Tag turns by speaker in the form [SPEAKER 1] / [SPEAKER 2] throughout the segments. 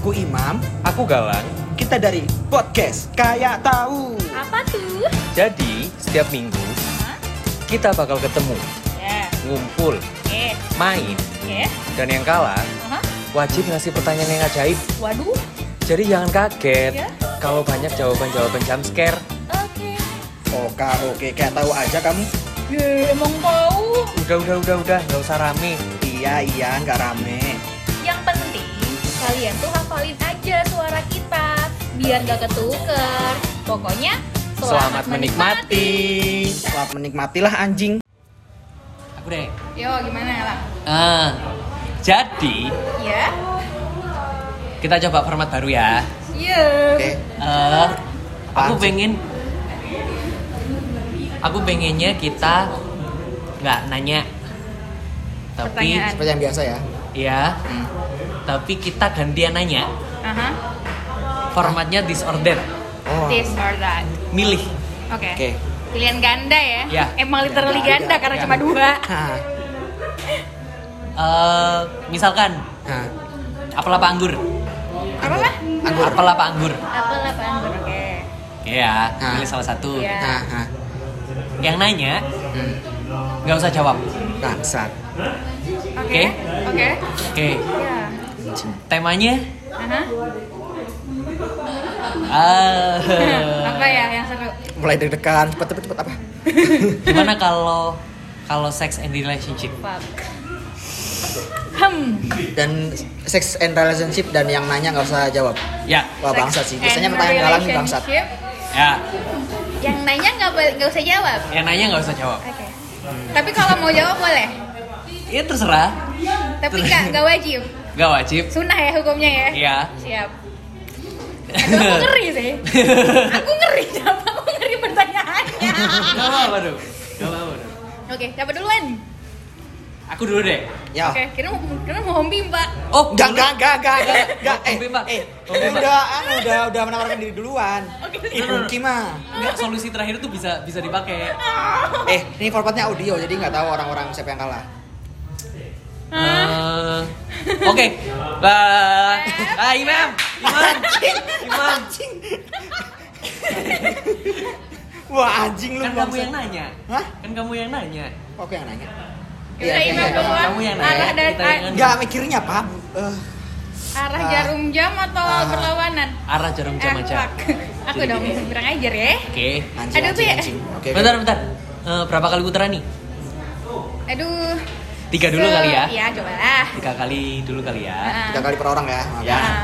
[SPEAKER 1] Aku Imam,
[SPEAKER 2] Aku Galang.
[SPEAKER 1] kita dari podcast Kayak Tahu.
[SPEAKER 3] Apa tuh?
[SPEAKER 2] Jadi, setiap minggu kita bakal ketemu,
[SPEAKER 3] Ya,
[SPEAKER 2] ngumpul,
[SPEAKER 3] eh,
[SPEAKER 2] main,
[SPEAKER 3] ya.
[SPEAKER 2] dan yang kalah
[SPEAKER 3] Aha.
[SPEAKER 2] wajib ngasih pertanyaan yang ajaib.
[SPEAKER 3] Waduh.
[SPEAKER 2] Jadi jangan kaget
[SPEAKER 3] Ya.
[SPEAKER 2] kalau banyak jawaban-jawaban jump scare.
[SPEAKER 3] Oke.
[SPEAKER 1] Oke, oke, kayak tahu aja kamu.
[SPEAKER 3] Ye, emang tahu.
[SPEAKER 2] Udah, udah, udah, udah, nggak usah rame.
[SPEAKER 1] Iya, iya, nggak rame.
[SPEAKER 3] Yang penting kalian tuh hafalin aja suara kita biar gak ketuker. Pokoknya
[SPEAKER 2] Selamat menikmati.
[SPEAKER 1] Selamat menikmatilah anjing.
[SPEAKER 2] Aku deh.
[SPEAKER 3] Yo, gimana Lang?
[SPEAKER 2] Ah, jadi
[SPEAKER 3] Ya.
[SPEAKER 2] kita coba format baru ya.
[SPEAKER 3] Iya.
[SPEAKER 1] Oke,
[SPEAKER 2] Eh, aku
[SPEAKER 1] Apaan sih?
[SPEAKER 2] pengen, aku pengennya kita nggak nanya, tapi
[SPEAKER 3] Pertanyaan.
[SPEAKER 1] seperti yang biasa ya.
[SPEAKER 2] ya,
[SPEAKER 1] Hmm.
[SPEAKER 2] tapi kita gantian nanya.
[SPEAKER 3] Aha.
[SPEAKER 2] Formatnya disorder,
[SPEAKER 1] Oh,
[SPEAKER 3] This or that.
[SPEAKER 2] milih.
[SPEAKER 3] Oke.
[SPEAKER 1] oke.
[SPEAKER 3] Pilihan ganda ya?
[SPEAKER 2] Ya.
[SPEAKER 3] Emang literally
[SPEAKER 1] Ganda,
[SPEAKER 3] ganda karena
[SPEAKER 2] ganda.
[SPEAKER 3] cuma dua.
[SPEAKER 1] Hah,
[SPEAKER 2] Eh, misalkan
[SPEAKER 1] hah.
[SPEAKER 2] apel apa anggur?
[SPEAKER 3] Apa lah?
[SPEAKER 1] Anggur.
[SPEAKER 2] Apel apa anggur?
[SPEAKER 3] Apa lah anggur? Oke.
[SPEAKER 2] Ya,
[SPEAKER 1] Ah.
[SPEAKER 2] pilih salah satu.
[SPEAKER 3] Ya.
[SPEAKER 1] Hah, hah.
[SPEAKER 2] Yang nanya
[SPEAKER 1] Hmm,
[SPEAKER 2] nggak usah jawab.
[SPEAKER 1] Bangsat.
[SPEAKER 3] Oke. Oke.
[SPEAKER 2] Oke,
[SPEAKER 3] Ya.
[SPEAKER 2] temanya
[SPEAKER 3] Aha.
[SPEAKER 2] eh,
[SPEAKER 3] apa ya yang seru?
[SPEAKER 1] Mulai deg-degan, cepet cepet cepet apa?
[SPEAKER 2] gimana kalau kalau sex and relationship?
[SPEAKER 3] Fuck. Hmm.
[SPEAKER 1] Dan sex and relationship dan yang nanya nggak usah jawab.
[SPEAKER 2] Ya,
[SPEAKER 1] Wah
[SPEAKER 3] Sex
[SPEAKER 1] bangsat sih. Biasanya
[SPEAKER 3] and
[SPEAKER 1] pertanyaan galak nih bangsat.
[SPEAKER 3] relationship.
[SPEAKER 2] ya,
[SPEAKER 3] Yang nanya nggak boleh- nggak usah jawab.
[SPEAKER 2] yang nanya nggak usah jawab.
[SPEAKER 3] Oke. Tapi kalau mau jawab boleh.
[SPEAKER 2] Ya terserah,
[SPEAKER 3] Tapi nggak nggak wajib.
[SPEAKER 2] nggak wajib.
[SPEAKER 3] Sunnah ya hukumnya ya.
[SPEAKER 1] Iya.
[SPEAKER 2] Ya,
[SPEAKER 3] Siap. Aduh, aku ngeri sih. Aku ngeri siapa? Aku ngeri pertanyaannya.
[SPEAKER 2] nggak apa-apa dong. Nggak apa-apa dong.
[SPEAKER 3] Oke, siapa duluan?
[SPEAKER 2] Aku dulu deh.
[SPEAKER 1] Ya.
[SPEAKER 3] Oke, kira mau kira mau hombi mbak.
[SPEAKER 2] Oh,
[SPEAKER 1] Enggak, enggak, enggak, enggak, enggak, enggak.
[SPEAKER 2] Bang Bima.
[SPEAKER 1] Eh,
[SPEAKER 2] Bang
[SPEAKER 1] eh,
[SPEAKER 2] Bima.
[SPEAKER 1] udah, anu, udah, udah menawarkan diri duluan.
[SPEAKER 3] Oke.
[SPEAKER 1] Ibu Kima.
[SPEAKER 2] Nggak, solusi terakhir tuh bisa bisa dipakai.
[SPEAKER 1] Eh, ini formatnya audio, jadi nggak tahu orang-orang siapa yang kalah.
[SPEAKER 2] Eh, Oke, Lah, ah, Imam, Imam, Imam.
[SPEAKER 1] Wah, anjing lu.
[SPEAKER 2] Kan kamu
[SPEAKER 1] bangsat.
[SPEAKER 2] yang nanya.
[SPEAKER 1] Hah?
[SPEAKER 2] Kan kamu yang nanya.
[SPEAKER 1] Kok aku yang nanya?
[SPEAKER 3] Yaudah,
[SPEAKER 1] Iya,
[SPEAKER 3] Imam
[SPEAKER 1] iya,
[SPEAKER 3] duluan.
[SPEAKER 2] kamu yang nanya,
[SPEAKER 3] Arah dan
[SPEAKER 2] kita yang nanya.
[SPEAKER 1] Enggak mikirnya, Pak. Eh,
[SPEAKER 3] arah
[SPEAKER 1] Ah.
[SPEAKER 3] jarum jam atau
[SPEAKER 1] Ah.
[SPEAKER 3] berlawanan?
[SPEAKER 2] Arah jarum Nah. jam
[SPEAKER 3] Eh,
[SPEAKER 2] aja.
[SPEAKER 3] fuck. Aku dong kurang ajar ya.
[SPEAKER 2] Oke.
[SPEAKER 1] anjing,
[SPEAKER 3] Aduh,
[SPEAKER 1] anjing,
[SPEAKER 3] Pi.
[SPEAKER 1] anjing. Oke. oke.
[SPEAKER 2] Bentar, bentar. Eh, berapa kali putaran nih?
[SPEAKER 3] Aduh.
[SPEAKER 2] Tiga dulu
[SPEAKER 3] Se-
[SPEAKER 2] kali ya.
[SPEAKER 3] Iya, coba lah.
[SPEAKER 2] Tiga kali dulu kali ya.
[SPEAKER 3] Ah.
[SPEAKER 1] Tiga kali per orang ya. Oke.
[SPEAKER 2] Ya.
[SPEAKER 3] Ah.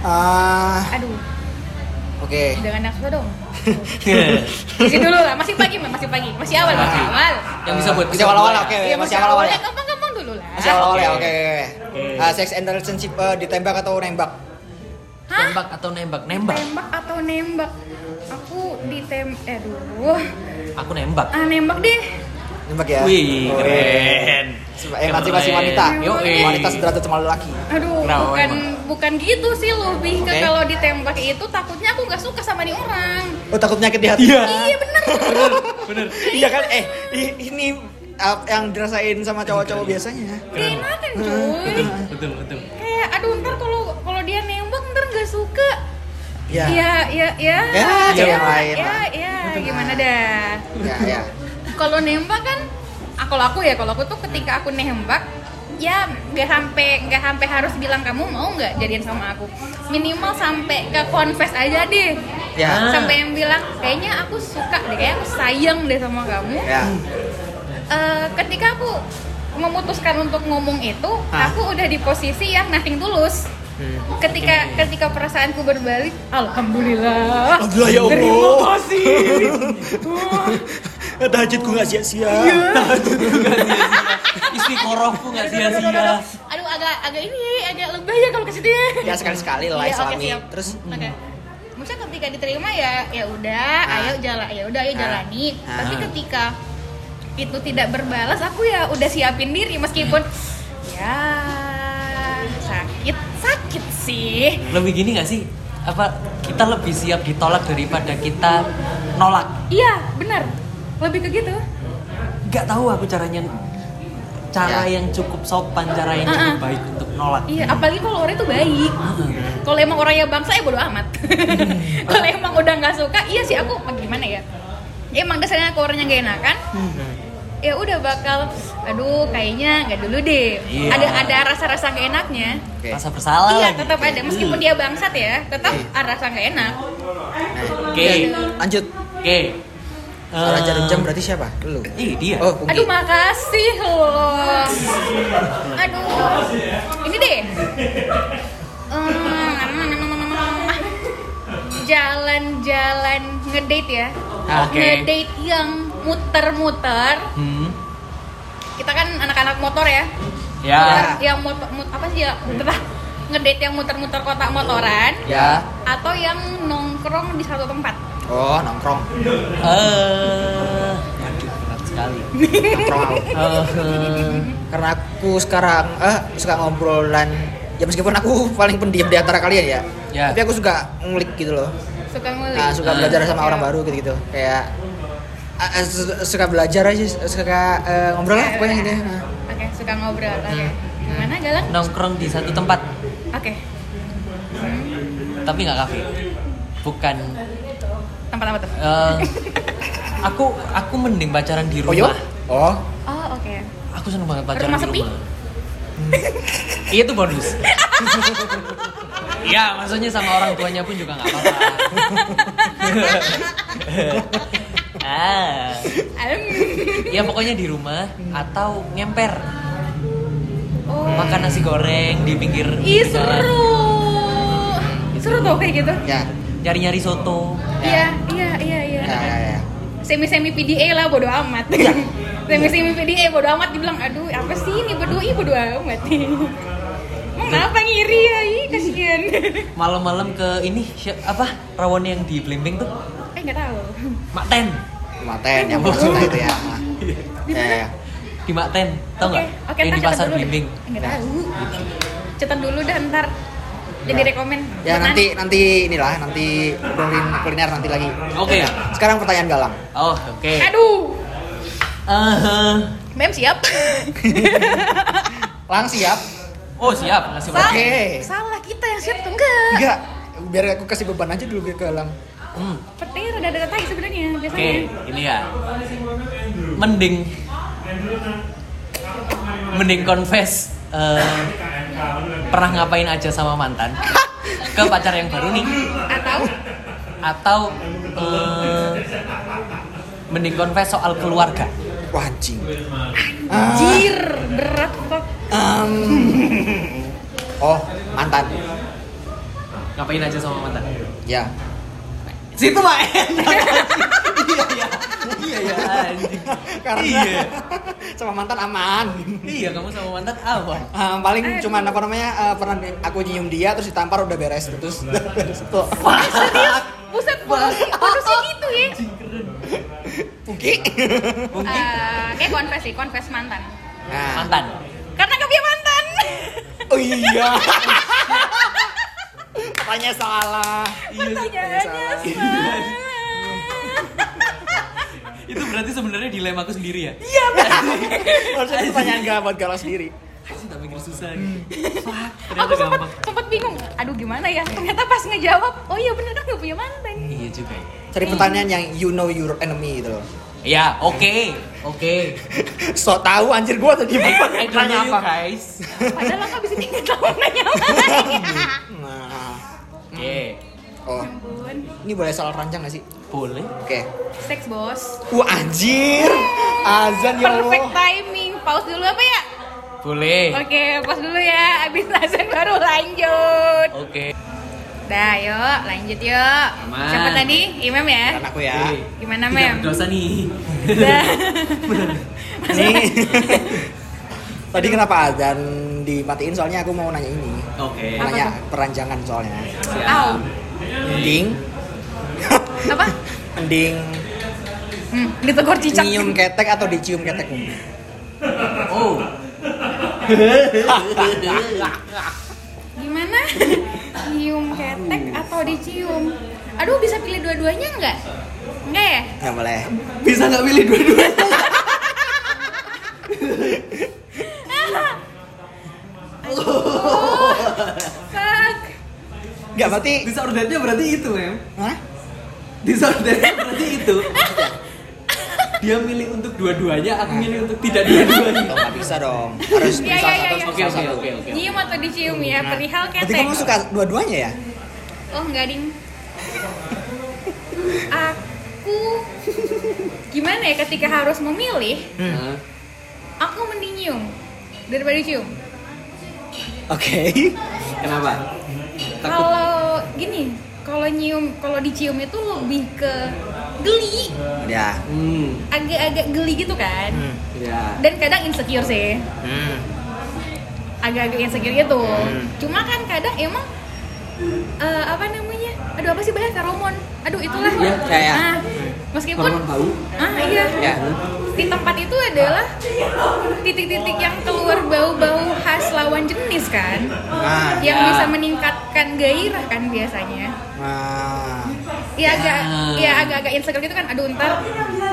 [SPEAKER 1] Ah,
[SPEAKER 3] Aduh,
[SPEAKER 1] oke.
[SPEAKER 3] jangan nafsu dong.
[SPEAKER 2] Yang
[SPEAKER 3] Isi dulu lah, masih pagi, Mas. masih pagi, masih awal, masih
[SPEAKER 2] Masih.
[SPEAKER 3] awal.
[SPEAKER 2] bisa buat
[SPEAKER 1] Masih
[SPEAKER 2] kita
[SPEAKER 1] awal-awal,
[SPEAKER 2] berdua ya.
[SPEAKER 1] oke.
[SPEAKER 3] Iya,
[SPEAKER 1] masih awal-awal ya?
[SPEAKER 3] Gampang-gampang dulu lah.
[SPEAKER 1] Masih awal-awal ya, oke.
[SPEAKER 2] Oke.
[SPEAKER 1] oke, oke.
[SPEAKER 2] Oke.
[SPEAKER 1] Ah, sex and relationship eh, ditembak atau nembak?
[SPEAKER 3] Hah?
[SPEAKER 2] Tembak atau nembak? Nembak.
[SPEAKER 3] Tembak atau nembak? Aku ditem eh aduh.
[SPEAKER 2] Aku nembak.
[SPEAKER 3] Ah, nembak deh.
[SPEAKER 1] Nembak ya.
[SPEAKER 2] Wih,
[SPEAKER 1] Oke.
[SPEAKER 2] keren.
[SPEAKER 1] Seba- Emansipasi wanita.
[SPEAKER 2] Yo,
[SPEAKER 3] Yoi.
[SPEAKER 1] Wanita sederajat sama lelaki.
[SPEAKER 3] Aduh,
[SPEAKER 2] Kenapa
[SPEAKER 3] bukan
[SPEAKER 2] emang?
[SPEAKER 3] bukan gitu sih lebih ke
[SPEAKER 2] Oke.
[SPEAKER 3] kalau ditembak itu takutnya aku nggak suka sama nih orang.
[SPEAKER 1] Oh, takut nyakit di hati.
[SPEAKER 2] Iya.
[SPEAKER 3] Iya bener.
[SPEAKER 2] Bener, bener.
[SPEAKER 1] Iya kan? Eh, i- ini uh, yang dirasain sama cowok-cowok biasanya.
[SPEAKER 2] Keren.
[SPEAKER 3] Keenakan cuy.
[SPEAKER 2] Hmm. Betul, betul.
[SPEAKER 3] Kayak aduh ntar kalau kalau dia nembak ntar nggak suka.
[SPEAKER 1] Ya.
[SPEAKER 3] Ya ya ya.
[SPEAKER 1] Ya,
[SPEAKER 3] ya,
[SPEAKER 1] cewek lain
[SPEAKER 3] Ya
[SPEAKER 1] lah.
[SPEAKER 3] ya gimana dah.
[SPEAKER 1] Ya, ya.
[SPEAKER 3] Kalau nembak kan ah, kalau aku ya kalau aku tuh ketika aku nembak ya nggak sampai nggak sampai harus bilang kamu mau nggak jadian sama aku minimal sampai ke confess aja deh
[SPEAKER 1] Ya.
[SPEAKER 2] Ah.
[SPEAKER 3] sampai yang bilang kayaknya aku suka deh kayak aku sayang deh sama kamu
[SPEAKER 1] Ya.
[SPEAKER 3] Eh, ketika aku memutuskan untuk ngomong itu
[SPEAKER 1] Hah? Hmm.
[SPEAKER 3] aku udah di posisi yang nothing tulus ketika ketika perasaanku berbalik alhamdulillah
[SPEAKER 1] Alhamdulillah, ya Allah.
[SPEAKER 3] terima kasih
[SPEAKER 1] Tahajudku nggak sia-sia.
[SPEAKER 2] Istiqorohku nggak sia-sia.
[SPEAKER 3] aduh agak agak ini agak lebih ya kalau ke situ ya
[SPEAKER 1] Ah. Ya sekali-sekali lah
[SPEAKER 3] Iya, oke,
[SPEAKER 1] islami.
[SPEAKER 3] siap.
[SPEAKER 1] Terus Hmm.
[SPEAKER 3] Oke. Maksudnya ketika diterima ya ya udah,
[SPEAKER 1] Ah.
[SPEAKER 3] ayo jalan, ya udah ayo
[SPEAKER 1] Ah.
[SPEAKER 3] jalani.
[SPEAKER 1] Ah.
[SPEAKER 3] Tapi ketika itu tidak berbalas, aku ya udah siapin diri meskipun
[SPEAKER 1] Hmm.
[SPEAKER 3] ya sakit sakit sih.
[SPEAKER 2] Lebih gini nggak sih? Apa kita lebih siap ditolak daripada kita nolak?
[SPEAKER 3] Iya benar, lebih ke gitu.
[SPEAKER 2] Nggak tahu aku caranya cara
[SPEAKER 1] Ya.
[SPEAKER 2] yang cukup sopan, cara yang
[SPEAKER 3] Ah,
[SPEAKER 2] cukup
[SPEAKER 3] ah.
[SPEAKER 2] baik untuk nolak.
[SPEAKER 3] Iya, apalagi kalau orangnya tuh baik. kalau emang orangnya bangsa ya bodo amat
[SPEAKER 2] Hmm.
[SPEAKER 3] kalau emang udah nggak suka iya sih aku gimana ya emang dasarnya aku orangnya gak enakan
[SPEAKER 2] Hmm.
[SPEAKER 3] ya udah bakal aduh kayaknya nggak dulu deh
[SPEAKER 2] Iya.
[SPEAKER 3] ada ada rasa-rasa gak enaknya
[SPEAKER 1] Oke.
[SPEAKER 2] Rasa bersalah
[SPEAKER 3] iya
[SPEAKER 2] lagi.
[SPEAKER 3] tetap ada meskipun dia bangsat ya tetap
[SPEAKER 1] Iya.
[SPEAKER 3] ada rasa gak enak
[SPEAKER 2] Oke.
[SPEAKER 3] Iya.
[SPEAKER 1] Lanjut.
[SPEAKER 2] Oke.
[SPEAKER 1] Raja
[SPEAKER 2] Eh,
[SPEAKER 1] Dejam berarti siapa? Lu.
[SPEAKER 2] Ih, dia.
[SPEAKER 1] Oh, Pungki.
[SPEAKER 3] aduh makasih loh aduh ini deh Em, Hmm, jalan-jalan ngedate ya
[SPEAKER 2] Ah, oke.
[SPEAKER 3] ngedate yang muter-muter
[SPEAKER 2] Hmm.
[SPEAKER 3] kita kan anak-anak motor ya
[SPEAKER 1] Ah.
[SPEAKER 2] Ya.
[SPEAKER 3] yang motor mut- apa sih ya muter ngedate yang muter-muter kota motoran
[SPEAKER 2] Ya.
[SPEAKER 3] atau yang nongkrong di satu tempat
[SPEAKER 1] Oh, nongkrong.
[SPEAKER 2] Eh, aduh berat sekali.
[SPEAKER 1] Nongkrong aku.
[SPEAKER 2] Eh,
[SPEAKER 1] Karena aku sekarang eh suka ngobrolan ya meskipun aku paling pendiam di antara kalian ya.
[SPEAKER 2] Ya.
[SPEAKER 1] Tapi aku suka ngulik gitu loh.
[SPEAKER 3] suka ngulik
[SPEAKER 1] Nah, suka
[SPEAKER 2] Ah.
[SPEAKER 1] belajar sama orang
[SPEAKER 3] Ya.
[SPEAKER 1] baru gitu-gitu. Kayak ah, ah, su- suka belajar aja, suka eh, ngobrol lah pokoknya gitu. Nah.
[SPEAKER 3] oke suka ngobrol oke
[SPEAKER 1] Hmm.
[SPEAKER 3] gimana galang
[SPEAKER 2] nongkrong di satu tempat,
[SPEAKER 3] oke
[SPEAKER 2] tapi nggak kafe. Bukan.
[SPEAKER 3] tempat apa tuh
[SPEAKER 2] eh, aku aku mending pacaran di
[SPEAKER 1] Oh, yo?
[SPEAKER 2] rumah.
[SPEAKER 1] Oh,
[SPEAKER 3] oh oke
[SPEAKER 2] Aku seneng banget pacaran
[SPEAKER 3] Rumah
[SPEAKER 2] di
[SPEAKER 3] sepi?
[SPEAKER 2] rumah. Iya itu bonus. Iya, maksudnya sama orang tuanya pun juga nggak apa-apa. ah,
[SPEAKER 3] Em.
[SPEAKER 2] ya pokoknya di rumah atau ngemper,
[SPEAKER 3] oh
[SPEAKER 2] makan nasi goreng di pinggir
[SPEAKER 3] ih
[SPEAKER 2] jalan.
[SPEAKER 3] seru seru tuh kayak gitu
[SPEAKER 1] ya.
[SPEAKER 2] nyari-nyari soto.
[SPEAKER 3] iya iya iya iya
[SPEAKER 1] Ya, ya, ya.
[SPEAKER 3] semi semi PDA lah bodo amat semi semi PDA bodo amat dibilang aduh apa sih ini berdua ih bodo amat Emang kenapa ngiri ya ih kasihan Eh,
[SPEAKER 2] Malam-malam ke ini si- apa? Rawon yang di Blimbing tuh.
[SPEAKER 3] eh nggak tahu
[SPEAKER 2] Makten.
[SPEAKER 1] Maten yang maksudnya itu ya. Nah. Ya, ya.
[SPEAKER 2] Di Makten, tau
[SPEAKER 3] Oke,
[SPEAKER 2] nggak?
[SPEAKER 3] oke, ntar
[SPEAKER 2] yang di
[SPEAKER 3] catat
[SPEAKER 2] pasar
[SPEAKER 3] dulu deh.
[SPEAKER 2] Blimbing.
[SPEAKER 3] nggak tahu cetak dulu dah ntar jadi
[SPEAKER 1] Ya.
[SPEAKER 3] rekomen
[SPEAKER 1] Ya
[SPEAKER 3] Buat
[SPEAKER 1] nanti nanti inilah nanti kuliner kuliner nanti lagi.
[SPEAKER 2] Oke.
[SPEAKER 1] Ya, Sekarang pertanyaan galang.
[SPEAKER 2] Oh, oke.
[SPEAKER 3] Nani. aduh
[SPEAKER 2] Eh,
[SPEAKER 3] mem siap
[SPEAKER 1] Lang siap?
[SPEAKER 2] oh, siap. Kasih
[SPEAKER 1] Sa-
[SPEAKER 2] banget.
[SPEAKER 1] Oke.
[SPEAKER 3] salah kita yang siap tuh enggak
[SPEAKER 1] Enggak. Biar aku kasih beban aja dulu ke Lang.
[SPEAKER 2] Hmm,
[SPEAKER 3] petir udah ada tai sebenarnya
[SPEAKER 2] oke,
[SPEAKER 3] biasanya
[SPEAKER 2] ini ya. Mending mending confess eh, pernah ngapain aja sama mantan ke pacar yang baru nih
[SPEAKER 3] atau
[SPEAKER 2] atau eh, mending confess soal keluarga.
[SPEAKER 1] Wah anjing. Ah.
[SPEAKER 3] jir berat fuck
[SPEAKER 1] Em, oh mantan.
[SPEAKER 2] Ngapain aja sama mantan?
[SPEAKER 1] Ya.
[SPEAKER 2] Situ eh. mah enak. Iya iya. Iya iya. anjing.
[SPEAKER 1] Karena
[SPEAKER 2] Iya.
[SPEAKER 1] sama mantan aman.
[SPEAKER 2] Iya kamu sama mantan apa?
[SPEAKER 1] Em, Eh, paling cuman apa namanya eh, pernah di- aku nyium dia terus ditampar udah beres terus udah beres tuh. Ah.
[SPEAKER 3] buset polisi polisi gitu ya
[SPEAKER 1] Puki.
[SPEAKER 2] Mungkin
[SPEAKER 3] Eh, kayak konfes sih konfes mantan
[SPEAKER 1] Nah.
[SPEAKER 2] mantan.
[SPEAKER 3] karena gak punya mantan
[SPEAKER 1] Oh iya. Tanya salah.
[SPEAKER 3] pertanyaannya
[SPEAKER 1] salah. Iya.
[SPEAKER 3] salah
[SPEAKER 2] Itu berarti sebenarnya dilema aku sendiri ya.
[SPEAKER 3] Iya,
[SPEAKER 1] Harusnya itu pertanyaan gak buat galau sendiri.
[SPEAKER 2] Anjing tak pikir susah gitu.
[SPEAKER 1] Hmm.
[SPEAKER 2] Wah,
[SPEAKER 3] aku
[SPEAKER 2] ternyata
[SPEAKER 3] sempat
[SPEAKER 2] gampang.
[SPEAKER 3] sempat bingung aduh gimana ya ternyata pas ngejawab oh iya bener kan gak punya mantan
[SPEAKER 2] Iya juga ya.
[SPEAKER 1] Cari pertanyaan yang you know your enemy gitu loh.
[SPEAKER 2] Iya, oke. Oke.
[SPEAKER 1] So tahu anjir gua tadi
[SPEAKER 2] I don't know
[SPEAKER 1] Eh, tanya
[SPEAKER 2] you
[SPEAKER 1] apa.
[SPEAKER 2] guys.
[SPEAKER 3] padahal aku abis ini gak tau nanya apa
[SPEAKER 1] Nah.
[SPEAKER 2] Oke.
[SPEAKER 1] Oh,
[SPEAKER 3] Ampun.
[SPEAKER 1] ini boleh salah rancang gak sih?
[SPEAKER 2] Boleh.
[SPEAKER 1] Oke.
[SPEAKER 3] Seks bos.
[SPEAKER 1] Wah anjir. Azan ya
[SPEAKER 3] Perfect
[SPEAKER 1] Allah.
[SPEAKER 3] timing. Pause dulu apa ya?
[SPEAKER 2] Boleh.
[SPEAKER 3] Oke, pause dulu ya. Abis azan baru lanjut.
[SPEAKER 2] Oke.
[SPEAKER 3] Dah, yuk lanjut yuk.
[SPEAKER 2] Aman.
[SPEAKER 3] Siapa tadi? Imam ya.
[SPEAKER 1] Dan aku ya.
[SPEAKER 2] Oke.
[SPEAKER 3] Gimana,
[SPEAKER 2] Tidak
[SPEAKER 3] Mem?
[SPEAKER 2] berdosa nih.
[SPEAKER 3] Dah.
[SPEAKER 1] Nih. Tadi kenapa azan dimatiin soalnya aku mau nanya ini.
[SPEAKER 2] Oke. Ya.
[SPEAKER 1] Mau
[SPEAKER 3] Apa
[SPEAKER 1] nanya perancangan soalnya.
[SPEAKER 2] Iya.
[SPEAKER 3] Au.
[SPEAKER 2] Siap.
[SPEAKER 1] Mending
[SPEAKER 3] Apa?
[SPEAKER 1] mending
[SPEAKER 3] Hmm, ditegur cicak.
[SPEAKER 1] nyium ketek atau dicium ketekmu?
[SPEAKER 2] Oh.
[SPEAKER 3] Gimana? Nyium ketek atau dicium? Aduh, bisa pilih dua-duanya nggak? Enggak ya?
[SPEAKER 1] Nggak boleh.
[SPEAKER 2] Bisa nggak pilih dua-duanya?
[SPEAKER 3] Oh, fuck.
[SPEAKER 1] Enggak, berarti
[SPEAKER 4] Disordernya berarti itu, Mem.
[SPEAKER 1] Hah?
[SPEAKER 4] Disordernya berarti itu. Dia milih untuk dua-duanya, aku milih untuk tidak dua-duanya.
[SPEAKER 1] Dong, nggak bisa dong. Harus
[SPEAKER 3] Iya, iya,
[SPEAKER 1] salah satu,
[SPEAKER 3] iya,
[SPEAKER 1] harus
[SPEAKER 4] Oke,
[SPEAKER 1] salah
[SPEAKER 4] oke,
[SPEAKER 1] satu.
[SPEAKER 4] oke, oke.
[SPEAKER 3] Nyium atau dicium ya, perihal
[SPEAKER 1] Berarti
[SPEAKER 3] ketek.
[SPEAKER 1] kamu suka dua-duanya ya?
[SPEAKER 3] Oh enggak ding. Aku gimana ya ketika harus memilih,
[SPEAKER 2] Hmm.
[SPEAKER 4] Hah?
[SPEAKER 3] aku mending nyium daripada cium.
[SPEAKER 1] Oke.
[SPEAKER 4] Kenapa? Takut.
[SPEAKER 3] Kalau gini, kalau nyium, kalau dicium itu lebih ke geli,
[SPEAKER 1] Ya.
[SPEAKER 4] Hmm,
[SPEAKER 3] agak-agak geli gitu kan.
[SPEAKER 1] Hmm.
[SPEAKER 4] ya.
[SPEAKER 3] Dan kadang insecure sih,
[SPEAKER 1] Hmm.
[SPEAKER 3] agak-agak insecure gitu.
[SPEAKER 1] Hmm.
[SPEAKER 3] Cuma kan kadang emang eh, apa namanya? Aduh apa sih bahasa feromon? Aduh itulah.
[SPEAKER 4] Iya,
[SPEAKER 1] iya, iya.
[SPEAKER 3] Nah,
[SPEAKER 4] Hormon
[SPEAKER 3] meskipun
[SPEAKER 4] bau.
[SPEAKER 3] ah iya.
[SPEAKER 1] Ya.
[SPEAKER 3] di tempat itu adalah titik-titik yang keluar bau-bau khas lawan jenis kan
[SPEAKER 1] Nah.
[SPEAKER 3] yang
[SPEAKER 4] Ya.
[SPEAKER 3] bisa meningkatkan gairah kan biasanya
[SPEAKER 1] Nah.
[SPEAKER 3] ya agak
[SPEAKER 2] Ya.
[SPEAKER 3] ya agak-agak insecure gitu kan aduh ntar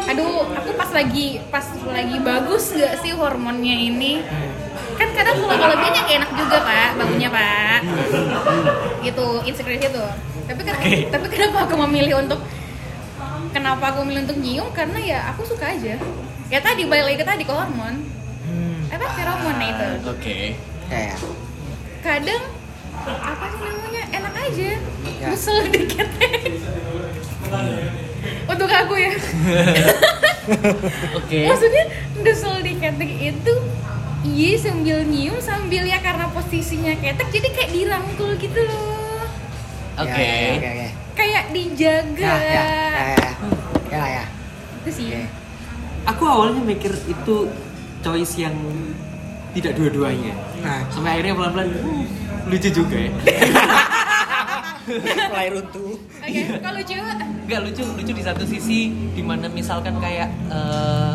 [SPEAKER 3] aduh aku pas lagi pas lagi bagus nggak sih hormonnya ini kan kadang kalau kalau dia nggak enak juga pak baunya pak gitu insecure itu tapi kan tapi kenapa aku memilih untuk kenapa aku memilih untuk nyium karena ya aku suka aja ya tadi balik lagi ke tadi ke hormon
[SPEAKER 1] Hmm.
[SPEAKER 3] apa feromon nah itu
[SPEAKER 2] Oke.
[SPEAKER 1] Ya, ya.
[SPEAKER 3] kadang apa sih namanya enak aja
[SPEAKER 1] Ya.
[SPEAKER 3] musel dikit untuk aku ya
[SPEAKER 2] Oke.
[SPEAKER 3] maksudnya dusel di ketek itu iya sambil nyium sambil ya karena posisinya ketek jadi kayak dirangkul gitu loh
[SPEAKER 1] Ya,
[SPEAKER 2] Oke.
[SPEAKER 1] ya, Oke. oke.
[SPEAKER 3] kayak
[SPEAKER 1] Ya,
[SPEAKER 3] dijaga
[SPEAKER 1] ya, ya, ya. Ya, ya.
[SPEAKER 3] itu sih
[SPEAKER 1] Oke.
[SPEAKER 4] Aku awalnya mikir itu choice yang tidak dua-duanya.
[SPEAKER 1] Nah,
[SPEAKER 4] Sampai akhirnya pelan-pelan hmm, lucu juga ya.
[SPEAKER 1] mulai runtuh.
[SPEAKER 3] oke kalau cewek ah,
[SPEAKER 2] Enggak lucu, lucu di satu sisi dimana misalkan kayak eh,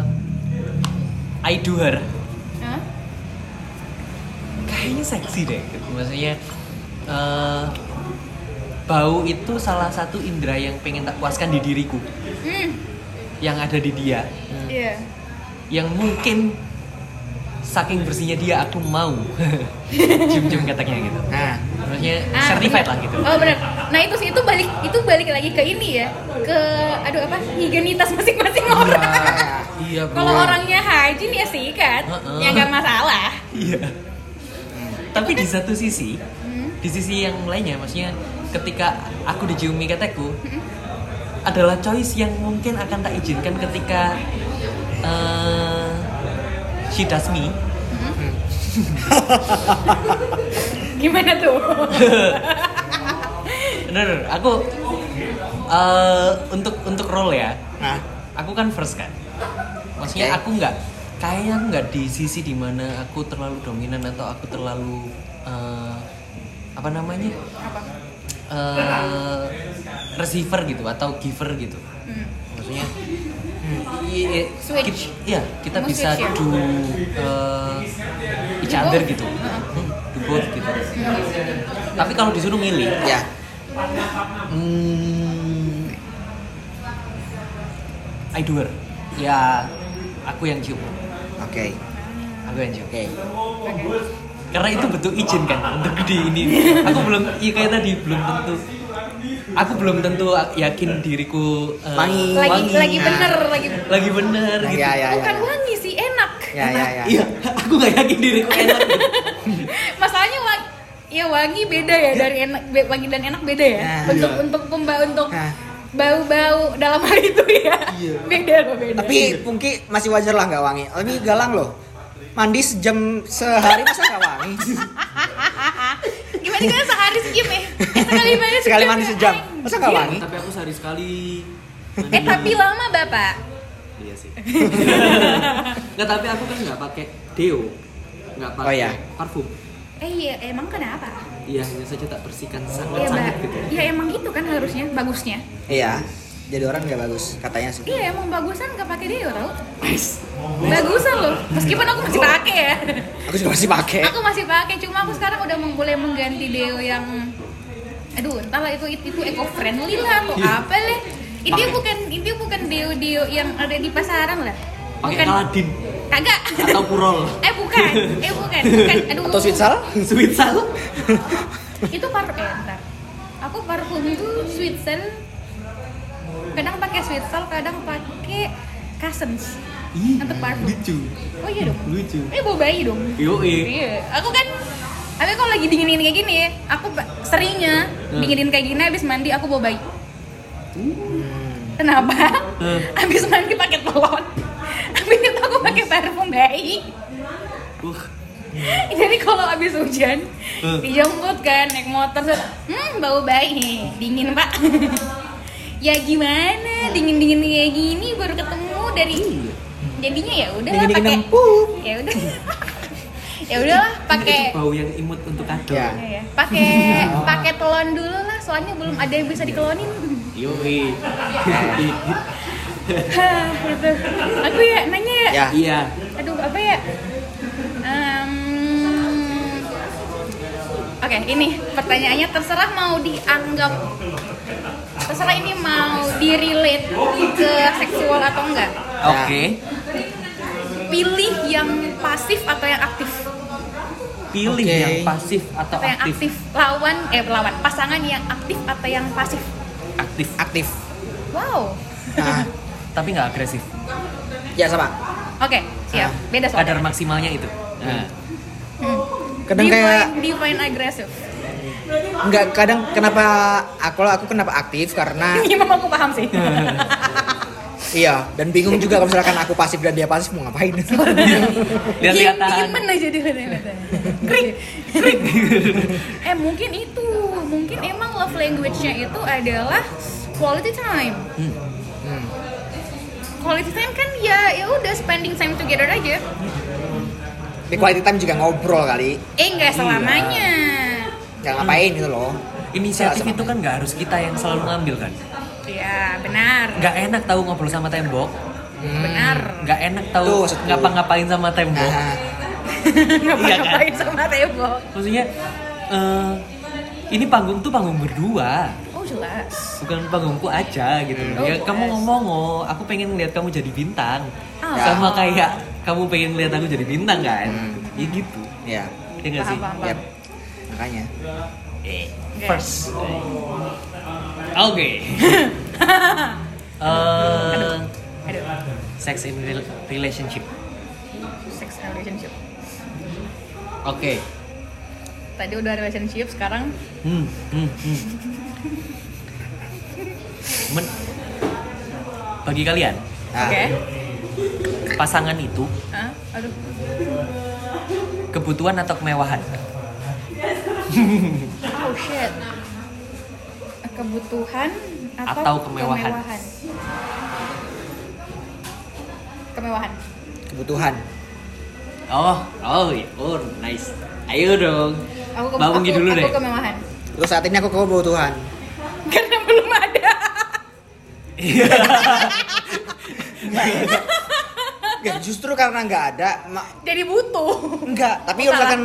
[SPEAKER 2] I do her
[SPEAKER 3] Hah?
[SPEAKER 2] kayaknya seksi deh. Maksudnya eh, bau itu salah satu indera yang pengen tak puaskan di diriku,
[SPEAKER 3] hmm
[SPEAKER 2] yang ada di dia,
[SPEAKER 3] iya
[SPEAKER 2] yang mungkin saking bersihnya dia aku mau cium-cium keteknya gitu.
[SPEAKER 1] Nah,
[SPEAKER 2] Maksudnya
[SPEAKER 3] Ah,
[SPEAKER 2] certified lah
[SPEAKER 3] bener.
[SPEAKER 2] gitu.
[SPEAKER 3] Oh benar. Nah itu sih itu balik itu balik lagi ke ini ya ke aduh apa higienitas masing-masing orang.
[SPEAKER 2] Iya, bro.
[SPEAKER 3] Kalau orangnya haji nih ya sikat,
[SPEAKER 2] Heeh.
[SPEAKER 3] ya nggak masalah.
[SPEAKER 2] Iya. Tapi di satu sisi,
[SPEAKER 3] Hmm.
[SPEAKER 2] di sisi yang lainnya, maksudnya ketika aku diciumi ketekku,
[SPEAKER 3] Hmm.
[SPEAKER 2] adalah choice yang mungkin akan tak izinkan ketika eh she does me.
[SPEAKER 3] Gimana tuh?
[SPEAKER 2] Bener, aku eh, untuk untuk role ya,
[SPEAKER 1] nah.
[SPEAKER 2] aku kan first kan. Maksudnya
[SPEAKER 1] Oke.
[SPEAKER 2] aku nggak, kayaknya aku nggak di sisi dimana aku terlalu dominan atau aku terlalu eh, apa namanya?
[SPEAKER 3] apa?
[SPEAKER 2] eh receiver gitu atau giver gitu
[SPEAKER 3] Hmm.
[SPEAKER 2] maksudnya i- i-
[SPEAKER 3] Switch.
[SPEAKER 2] ki- iya, kita
[SPEAKER 3] Kamu
[SPEAKER 2] bisa
[SPEAKER 3] switch ya?
[SPEAKER 2] do eh, each
[SPEAKER 3] Do
[SPEAKER 2] other
[SPEAKER 3] both.
[SPEAKER 2] gitu
[SPEAKER 3] Heeh. Hmm.
[SPEAKER 2] Hmm, do both gitu tapi kalau disuruh milih
[SPEAKER 1] Ya.
[SPEAKER 2] hmm, I do her ya aku yang cium
[SPEAKER 1] Oke.
[SPEAKER 2] aku yang cium
[SPEAKER 1] Oke.
[SPEAKER 2] karena itu bentuk izin kan untuk di ini aku belum iya kayak tadi belum tentu aku belum tentu yakin diriku eh,
[SPEAKER 1] Wangi.
[SPEAKER 3] Lagi
[SPEAKER 1] Wangi.
[SPEAKER 3] lagi bener lagi.
[SPEAKER 2] lagi bener
[SPEAKER 1] Nah,
[SPEAKER 2] gitu.
[SPEAKER 1] ya, ya, ya.
[SPEAKER 3] Bukan wangi sih enak.
[SPEAKER 1] Ya, ya, ya.
[SPEAKER 2] Iya, aku gak yakin diriku enak.
[SPEAKER 3] Masalahnya wangi. Ya wangi beda ya dari enak be- wangi dan enak beda ya.
[SPEAKER 1] Nah,
[SPEAKER 3] untuk
[SPEAKER 4] iya.
[SPEAKER 3] untuk pemba untuk
[SPEAKER 1] Nah.
[SPEAKER 3] bau-bau dalam hal itu ya. Beda loh beda.
[SPEAKER 1] Iya. Tapi Pungki masih wajar lah nggak wangi. Tapi Galang loh. Mandi sejam sehari masa nggak wangi?
[SPEAKER 3] gimana gimana sehari sejam ya? Eh, sekali mandi sejam.
[SPEAKER 1] Sekali mandi sejam. Masa nggak
[SPEAKER 3] Anjir.
[SPEAKER 1] wangi?
[SPEAKER 4] Tapi aku sehari sekali.
[SPEAKER 3] Eh tapi lama bapak.
[SPEAKER 4] Iya sih. Nggak, tapi aku kan nggak pakai deo, nggak pakai
[SPEAKER 1] Oh, iya.
[SPEAKER 4] parfum.
[SPEAKER 3] Eh iya emang kenapa?
[SPEAKER 4] Iya, hanya saja tak bersihkan
[SPEAKER 3] Iya mbak.
[SPEAKER 4] sangat-sangat gitu.
[SPEAKER 1] ya?
[SPEAKER 3] Iya emang gitu kan harusnya bagusnya.
[SPEAKER 1] Iya. Jadi orang nggak bagus katanya sih.
[SPEAKER 3] Iya emang bagusan nggak pakai deo tau? Bagusan loh. Meskipun aku
[SPEAKER 4] Oh.
[SPEAKER 3] masih pakai ya.
[SPEAKER 1] Aku juga masih
[SPEAKER 4] Eh.
[SPEAKER 1] pakai.
[SPEAKER 3] Aku masih pakai cuma aku sekarang udah mulai mengganti deo yang aduh entahlah itu itu eco friendly lah atau
[SPEAKER 4] Iya.
[SPEAKER 3] apa leh. Itu bukan itu bukan deo-deo yang ada di pasaran lah.
[SPEAKER 4] Pakai Aladin
[SPEAKER 3] Kagak.
[SPEAKER 4] atau Purol.
[SPEAKER 3] Eh bukan, eh bukan, bukan. Aduh.
[SPEAKER 1] Atau Switsal?
[SPEAKER 4] Switzal?
[SPEAKER 3] Itu parfum eh, ntar. aku parfum itu sweet scent kadang pakai sweet scent kadang pakai cousins
[SPEAKER 4] Ih,
[SPEAKER 3] untuk parfum
[SPEAKER 4] lucu. eh.
[SPEAKER 3] oh iya dong
[SPEAKER 4] Lucu.
[SPEAKER 3] ini bau bayi dong
[SPEAKER 4] Yoi.
[SPEAKER 3] iya aku kan tapi kalau lagi dinginin kayak gini aku ba- seringnya
[SPEAKER 4] Hmm.
[SPEAKER 3] dinginin kayak gini habis mandi aku bau bayi kenapa
[SPEAKER 4] Hmm.
[SPEAKER 3] habis mandi pakai telon habis itu aku pakai parfum bayi
[SPEAKER 4] Wah,
[SPEAKER 3] jadi kalau habis hujan
[SPEAKER 4] Hmm.
[SPEAKER 3] dijemput kan naik motor set, hmm bau bayi dingin pak ya gimana dingin dingin kayak gini baru ketemu dari jadinya ya udah lah
[SPEAKER 1] Dingin-dingin
[SPEAKER 3] pakai
[SPEAKER 1] empuk.
[SPEAKER 3] ya udah ya udahlah pakai
[SPEAKER 4] itu bau yang imut untuk kado.
[SPEAKER 1] Ya.
[SPEAKER 3] Iya, ya. pakai pakai telon dulu lah soalnya belum ada yang bisa dikelonin
[SPEAKER 4] Yoi.
[SPEAKER 1] Ah.
[SPEAKER 3] Hah, gitu. aku ya nanya ya
[SPEAKER 1] Ya.
[SPEAKER 4] Iya.
[SPEAKER 3] aduh apa ya Em, oke ini pertanyaannya terserah mau dianggap terserah ini mau di relate ke seksual atau enggak
[SPEAKER 4] Oke.
[SPEAKER 3] pilih yang pasif atau yang aktif
[SPEAKER 4] Pilih
[SPEAKER 1] Oke.
[SPEAKER 4] yang pasif atau
[SPEAKER 3] atau yang
[SPEAKER 4] aktif.
[SPEAKER 3] aktif lawan eh lawan pasangan yang aktif atau yang pasif
[SPEAKER 4] Aktif.
[SPEAKER 1] Aktif.
[SPEAKER 3] wow
[SPEAKER 1] Nah,
[SPEAKER 2] tapi nggak agresif
[SPEAKER 1] ya sama.
[SPEAKER 3] oke siap
[SPEAKER 1] Ah,
[SPEAKER 3] beda
[SPEAKER 2] kadar
[SPEAKER 3] soalnya
[SPEAKER 2] maksimalnya itu
[SPEAKER 1] Ya.
[SPEAKER 2] nah,
[SPEAKER 1] Kadang kayak
[SPEAKER 3] define, define agresif
[SPEAKER 1] nggak kadang kenapa aku kalau aku kenapa aktif karena
[SPEAKER 3] ini memang aku paham sih
[SPEAKER 1] Ah. iya dan bingung juga kalau misalkan aku pasif dan dia pasif mau ngapain.
[SPEAKER 2] lihat-lihatan
[SPEAKER 3] Diem- diemen aja di lihat-lihatan. Krik, krik. eh mungkin itu, mungkin emang love language-nya itu adalah quality time.
[SPEAKER 1] Hmm.
[SPEAKER 3] Quality time kan ya ya udah spending time together aja.
[SPEAKER 1] Tapi quality time juga ngobrol
[SPEAKER 3] Eh
[SPEAKER 1] kali. Iya.
[SPEAKER 3] nggak selamanya.
[SPEAKER 1] Ya
[SPEAKER 3] Hmm.
[SPEAKER 1] ngapain gitu
[SPEAKER 3] Oh.
[SPEAKER 1] loh.
[SPEAKER 2] inisiatif
[SPEAKER 1] Sama-
[SPEAKER 2] itu kan nggak harus kita yang selalu ngambil kan
[SPEAKER 3] Ya benar,
[SPEAKER 2] nggak enak tahu ngobrol sama tembok
[SPEAKER 1] Hmm.
[SPEAKER 3] benar.
[SPEAKER 2] nggak enak
[SPEAKER 1] Tuh,
[SPEAKER 2] tahu
[SPEAKER 1] maksudku.
[SPEAKER 2] ngapa-ngapain sama tembok
[SPEAKER 1] Nah, Iya, kan?
[SPEAKER 3] Ngapa-ngapain sama tembok?
[SPEAKER 2] maksudnya eh, ini panggung tuh panggung berdua
[SPEAKER 3] Oh jelas.
[SPEAKER 2] bukan panggungku aja gitu
[SPEAKER 3] Oh,
[SPEAKER 2] ya
[SPEAKER 3] yes.
[SPEAKER 2] kamu ngomong oh aku pengen ngeliat kamu jadi bintang
[SPEAKER 3] Ah.
[SPEAKER 2] sama kayak kamu pengen ngeliat aku jadi bintang kan
[SPEAKER 1] Hmm.
[SPEAKER 2] ya gitu
[SPEAKER 1] ya,
[SPEAKER 2] ya nggak sih
[SPEAKER 3] Paham, paham,
[SPEAKER 1] ya.
[SPEAKER 3] paham.
[SPEAKER 1] Makanya.
[SPEAKER 2] Eh,
[SPEAKER 3] Oke.
[SPEAKER 2] first oke Eh,
[SPEAKER 3] Aduh,
[SPEAKER 2] sex in rel- relationship
[SPEAKER 3] sex and relationship.
[SPEAKER 2] oke
[SPEAKER 3] Tadi udah relationship, sekarang
[SPEAKER 2] Hmm, hmm, hmm. Men- bagi kalian
[SPEAKER 1] Ah,
[SPEAKER 3] oke.
[SPEAKER 2] pasangan itu
[SPEAKER 3] Hah? aduh.
[SPEAKER 2] kebutuhan atau kemewahan
[SPEAKER 3] Oh shit. Kebutuhan atau,
[SPEAKER 2] Atau kemewahan.
[SPEAKER 3] kemewahan? Kemewahan.
[SPEAKER 1] Kebutuhan.
[SPEAKER 2] oh oh iya. oh nice ayo dong
[SPEAKER 3] Aku ke-
[SPEAKER 2] Babunggi
[SPEAKER 3] aku-
[SPEAKER 2] dulu
[SPEAKER 3] aku
[SPEAKER 2] deh
[SPEAKER 3] kemewahan.
[SPEAKER 1] Terus saat ini aku kebutuhan.
[SPEAKER 3] Karena belum ada.
[SPEAKER 1] Ya, justru karena nggak ada, ma-
[SPEAKER 3] Jadi butuh.
[SPEAKER 1] Enggak, tapi
[SPEAKER 3] Oh,
[SPEAKER 1] kalau misalkan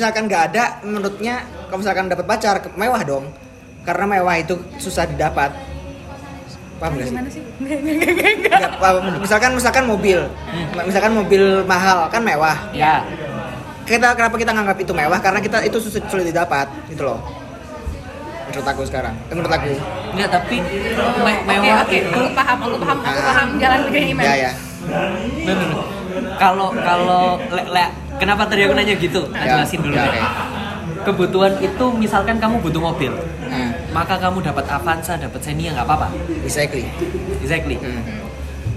[SPEAKER 1] misalkan nggak ada, menurutnya kalau misalkan dapat pacar ke- mewah dong. Karena mewah itu susah didapat. Paham nggak sih?
[SPEAKER 3] Gimana sih? Enggak, enggak, enggak, enggak.
[SPEAKER 1] Nggak paham. Misalkan misalkan mobil,
[SPEAKER 3] Hmm.
[SPEAKER 1] misalkan mobil mahal kan mewah.
[SPEAKER 2] ya
[SPEAKER 1] Kita kenapa kita nganggap itu mewah? Karena kita itu susah sulit didapat, gitu loh. Menurut aku sekarang, eh, menurut aku.
[SPEAKER 2] Enggak, tapi me-
[SPEAKER 3] Oke,
[SPEAKER 2] mewah gitu.
[SPEAKER 3] oke.
[SPEAKER 2] itu
[SPEAKER 3] Aku paham, aku paham, aku paham jalan pikirnya Iman.
[SPEAKER 1] Ya ya.
[SPEAKER 2] Bener, bener. Kalau kalau le- le- kenapa tadi aku nanya gitu? Nah,
[SPEAKER 1] Ya,
[SPEAKER 2] jelasin dulu
[SPEAKER 1] ya,
[SPEAKER 2] deh.
[SPEAKER 1] oke.
[SPEAKER 2] Kebutuhan itu misalkan kamu butuh mobil,
[SPEAKER 1] Nah,
[SPEAKER 2] maka kamu dapat Avanza, dapat Xenia nggak apa-apa.
[SPEAKER 1] recycling.
[SPEAKER 2] Exactly.
[SPEAKER 1] Hmm.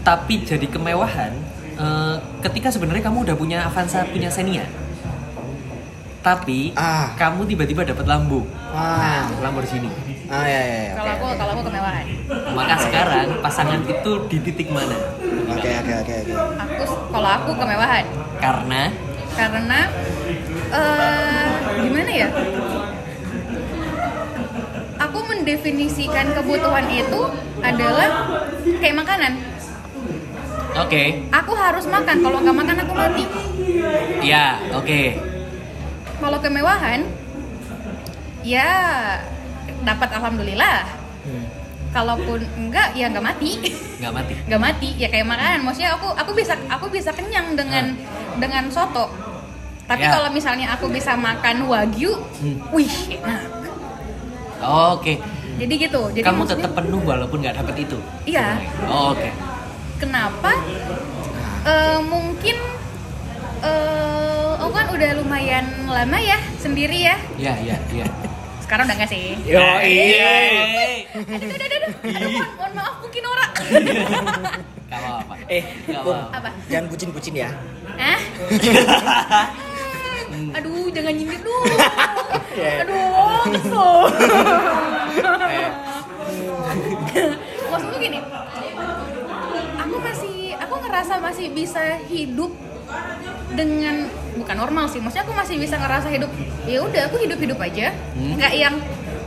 [SPEAKER 2] Tapi jadi kemewahan eh, ketika sebenarnya kamu udah punya Avanza, punya Xenia. Tapi
[SPEAKER 1] Ah.
[SPEAKER 2] kamu tiba-tiba dapat Lambo,
[SPEAKER 1] Ah,
[SPEAKER 2] Nah, Lamborghini.
[SPEAKER 1] ah ya ya. ya,
[SPEAKER 3] Kalau aku,
[SPEAKER 1] oke,
[SPEAKER 3] kalau aku kemewahan.
[SPEAKER 2] Maka sekarang pasangan itu di titik mana?
[SPEAKER 1] Oke oke oke oke.
[SPEAKER 3] Aku, kalau aku kemewahan.
[SPEAKER 2] Karena
[SPEAKER 3] karena eh gimana ya aku mendefinisikan kebutuhan itu adalah kayak makanan
[SPEAKER 2] oke,
[SPEAKER 3] aku harus makan kalau nggak makan aku mati
[SPEAKER 2] ya, oke.
[SPEAKER 3] kalau kemewahan ya dapat alhamdulillah
[SPEAKER 1] Hmm.
[SPEAKER 3] kalaupun enggak ya nggak mati
[SPEAKER 2] nggak mati.
[SPEAKER 3] nggak mati ya kayak makanan maksudnya aku aku bisa aku bisa kenyang dengan dengan soto tapi
[SPEAKER 2] Ya.
[SPEAKER 3] kalau misalnya aku bisa makan wagyu
[SPEAKER 2] Hmm.
[SPEAKER 3] wih enak
[SPEAKER 2] Oh, Oke.
[SPEAKER 3] Jadi gitu. Jadi
[SPEAKER 2] Kamu
[SPEAKER 3] maksudnya-
[SPEAKER 2] tetap penuh walaupun nggak dapet itu.
[SPEAKER 3] Iya.
[SPEAKER 2] Oh, Oke.
[SPEAKER 3] Kenapa? Eh, mungkin eh aku kan udah lumayan lama ya sendiri ya.
[SPEAKER 2] Iya iya iya. Nah,
[SPEAKER 3] Sekarang udah nggak sih?
[SPEAKER 1] Yo iya.
[SPEAKER 3] Aduh, aduh, aduh, aduh, aduh, mohon, mohon maaf mungkin ora.
[SPEAKER 2] Gak apa-apa.
[SPEAKER 1] Eh,
[SPEAKER 2] Gak
[SPEAKER 1] Pum,
[SPEAKER 2] apa-apa.
[SPEAKER 3] Apa?
[SPEAKER 1] jangan bucin-bucin ya.
[SPEAKER 3] Hah? Hmm, Eh? Aduh, jangan nyindir dulu. Aduh, kesel. Maksudku gini, aku masih, aku ngerasa masih bisa hidup dengan bukan normal sih. Maksudnya aku masih bisa ngerasa hidup. Ya udah, aku hidup hidup aja.
[SPEAKER 2] Hmm.
[SPEAKER 3] Nggak yang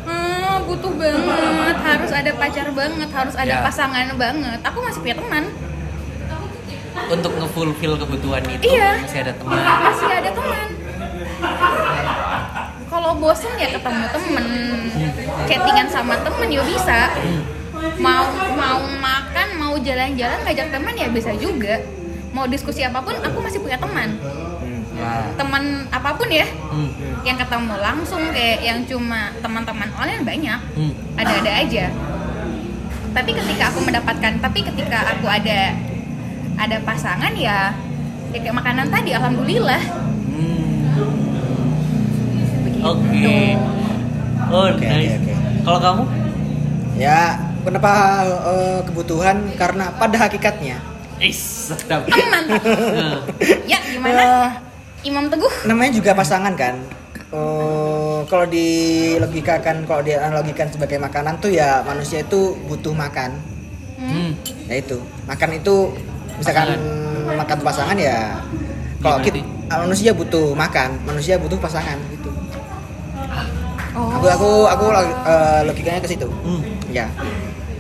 [SPEAKER 3] "Hmm, butuh banget, harus ada pacar banget, harus ada
[SPEAKER 2] Ya.
[SPEAKER 3] pasangan banget. Aku masih punya teman.
[SPEAKER 2] Untuk ngefulfill kebutuhan itu
[SPEAKER 3] Iya.
[SPEAKER 2] masih ada teman.
[SPEAKER 3] Masih ada teman. Kalau bosen ya ketemu temen, chattingan sama temen ya bisa. Mau mau makan, mau jalan-jalan ngajak teman ya bisa juga. Mau diskusi apapun, aku masih punya teman.
[SPEAKER 1] Hmm.
[SPEAKER 2] Nah.
[SPEAKER 3] Teman apapun ya,
[SPEAKER 2] Hmm.
[SPEAKER 3] yang ketemu langsung kayak yang cuma teman-teman online banyak
[SPEAKER 2] Hmm.
[SPEAKER 3] ada-ada aja tapi ketika aku mendapatkan tapi ketika aku ada ada pasangan ya ya kayak makanan tadi alhamdulillah
[SPEAKER 2] Hmm. Oke. Oh,
[SPEAKER 1] Oke, oke,
[SPEAKER 2] nice.
[SPEAKER 1] oke.
[SPEAKER 2] Kalau kamu?
[SPEAKER 1] Ya, kenapa eh, kebutuhan? Karena pada hakikatnya
[SPEAKER 2] Is, sedap.
[SPEAKER 3] Em, mantap
[SPEAKER 2] Nah,
[SPEAKER 3] ya gimana
[SPEAKER 1] eh,
[SPEAKER 3] Imam Teguh
[SPEAKER 1] namanya juga pasangan kan. Eh, kalau dilogikakan, kalau dianalogikan sebagai makanan tuh ya manusia itu butuh makan.
[SPEAKER 2] hmm.
[SPEAKER 1] ya itu makan itu misalkan makan pasangan ya kalau
[SPEAKER 2] Iya,
[SPEAKER 1] kita manusia butuh makan manusia butuh pasangan gitu
[SPEAKER 3] oh
[SPEAKER 1] aku aku aku lo- eh, logikanya ke situ
[SPEAKER 2] Hmm.
[SPEAKER 1] ya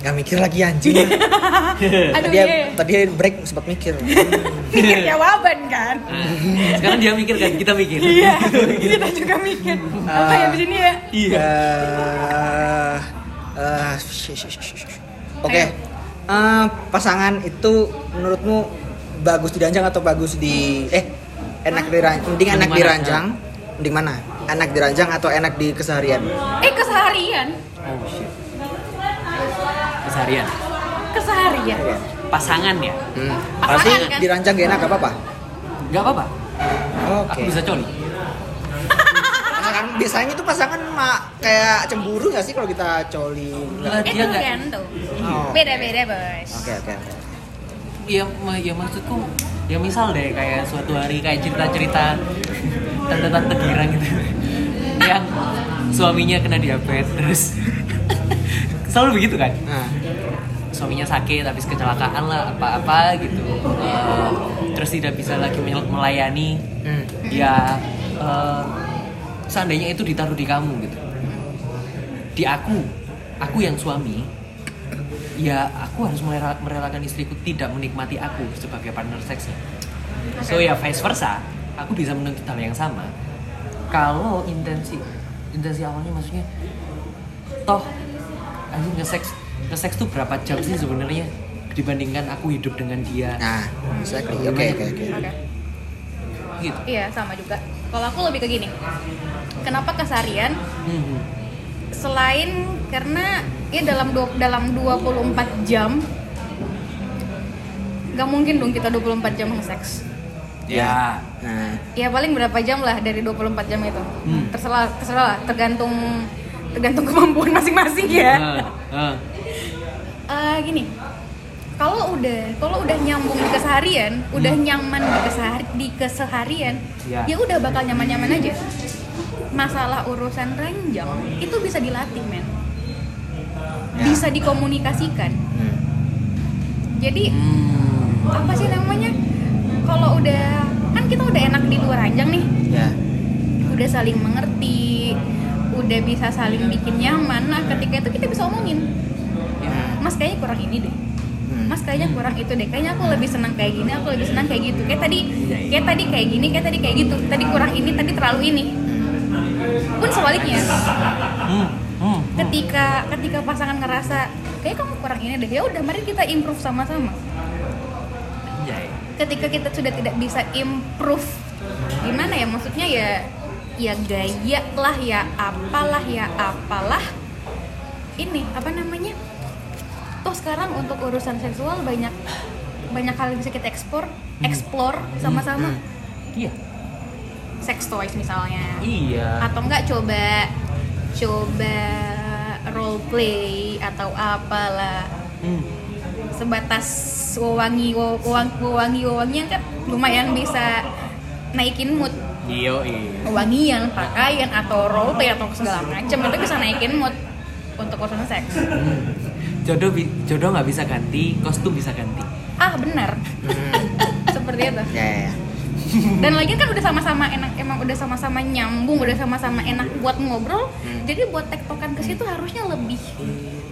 [SPEAKER 1] nggak mikir lagi anjing
[SPEAKER 3] aduh
[SPEAKER 1] tadi
[SPEAKER 3] iya.
[SPEAKER 1] tadi break sempat mikir
[SPEAKER 3] mikir jawaban kan
[SPEAKER 2] Nah, sekarang dia mikir kan, kita mikir.
[SPEAKER 3] iya kita juga mikir apa ya di sini ya
[SPEAKER 2] Iya.
[SPEAKER 1] Eh, eh, sh- sh- sh- sh- sh. Oke. Eh, pasangan itu menurutmu bagus diranjang atau bagus di eh enak diranjang mending enak
[SPEAKER 2] Mending mana?
[SPEAKER 1] diranjang mending mana enak diranjang atau enak di keseharian
[SPEAKER 3] eh keseharian
[SPEAKER 2] Oh shit. Keseharian.
[SPEAKER 3] keseharian
[SPEAKER 2] Pasangan ya?
[SPEAKER 1] hmm.
[SPEAKER 3] Pasangan,
[SPEAKER 1] pasti
[SPEAKER 3] kan?
[SPEAKER 1] diranjang gak enak gak apa-apa
[SPEAKER 2] Gak apa-apa.
[SPEAKER 1] oke
[SPEAKER 2] Aku bisa coli.
[SPEAKER 1] Pasangan- biasanya tuh pasangan mak kayak cemburu gak sih kalau kita coli
[SPEAKER 2] Lah,
[SPEAKER 3] eh
[SPEAKER 2] dia nggak-
[SPEAKER 3] tergantung
[SPEAKER 1] Oh.
[SPEAKER 3] beda beda bos
[SPEAKER 1] oke oke oke.
[SPEAKER 2] Iya, ma- ya maksudku ya misal deh kayak suatu hari kayak cerita-cerita tante-tante girang gitu yang suaminya kena diabetes terus selalu begitu kan
[SPEAKER 1] nah
[SPEAKER 2] suaminya sakit habis kecelakaan lah apa-apa gitu Eh, terus tidak bisa lagi mel- melayani
[SPEAKER 1] hmm.
[SPEAKER 2] ya eh, seandainya itu ditaruh di kamu gitu di aku aku yang suami ya aku harus merela- merelakan istriku tidak menikmati aku sebagai partner seksnya so ya vice versa aku bisa menuntut hal yang sama kalau intensi intensi awalnya maksudnya toh anjing nge-seks nge-seks tuh berapa jam sih sebenarnya dibandingkan aku hidup dengan dia
[SPEAKER 1] nah exactly oke oke oke
[SPEAKER 3] Oke.
[SPEAKER 2] gitu
[SPEAKER 3] iya sama juga kalau aku lebih ke gini kenapa keseharian
[SPEAKER 2] Mhm.
[SPEAKER 3] selain karena ya dalam dua, dalam 24 jam nggak mungkin dong kita 24 jam seks
[SPEAKER 2] ya
[SPEAKER 1] nah
[SPEAKER 3] ya paling berapa jam lah dari 24 jam itu
[SPEAKER 2] Hmm.
[SPEAKER 3] terserah terserah lah, tergantung tergantung kemampuan masing-masing ya
[SPEAKER 2] Heeh, heeh.
[SPEAKER 3] Eh, gini kalau udah kalau udah nyambung di keseharian udah nyaman di, kesehari- di keseharian
[SPEAKER 2] Hmm. Ya.
[SPEAKER 3] ya udah bakal nyaman nyaman aja masalah urusan ranjang itu bisa dilatih men
[SPEAKER 1] Ya.
[SPEAKER 3] bisa dikomunikasikan
[SPEAKER 1] hmm.
[SPEAKER 3] jadi
[SPEAKER 2] Iya.
[SPEAKER 3] apa sih namanya kalau udah kan kita udah enak di luar ranjang nih
[SPEAKER 1] ya
[SPEAKER 3] udah saling mengerti udah bisa saling bikin nyaman nah ketika itu kita bisa omongin
[SPEAKER 2] Ya.
[SPEAKER 3] mas kayaknya kurang ini deh
[SPEAKER 1] Hmm.
[SPEAKER 3] mas kayaknya kurang itu deh kayaknya aku lebih senang kayak gini aku lebih senang kayak gitu kayak tadi kayak tadi kayak gini kayak tadi kayak gitu tadi kurang ini tadi terlalu ini pun sebaliknya
[SPEAKER 2] Hmm, hmm.
[SPEAKER 3] ketika ketika pasangan ngerasa kayak kamu kurang ini deh ya udah mari kita improve sama-sama
[SPEAKER 2] Anjay.
[SPEAKER 3] ketika kita sudah tidak bisa improve gimana ya maksudnya ya ya gaya lah ya apalah ya apalah ini apa namanya toh sekarang untuk urusan seksual banyak banyak hal yang bisa kita ekspor explore sama-sama
[SPEAKER 2] Iya.
[SPEAKER 3] sex toys misalnya
[SPEAKER 2] Iya.
[SPEAKER 3] atau enggak coba coba role play atau apalah
[SPEAKER 2] Hmm.
[SPEAKER 3] sebatas wewangi wo- wewang wewangi wewangian kan lumayan bisa naikin mood
[SPEAKER 2] Iya, iya.
[SPEAKER 3] wewangian pakaian atau role play atau segala macam itu bisa naikin mood untuk urusan seks
[SPEAKER 2] Jodoh bi- jodoh nggak bisa ganti, kostum bisa ganti.
[SPEAKER 3] ah benar Hmm. seperti itu
[SPEAKER 1] Ya, ya, ya.
[SPEAKER 3] dan lagi kan udah sama-sama enak emang udah sama-sama nyambung udah sama-sama enak buat ngobrol jadi buat tektokan ke situ harusnya lebih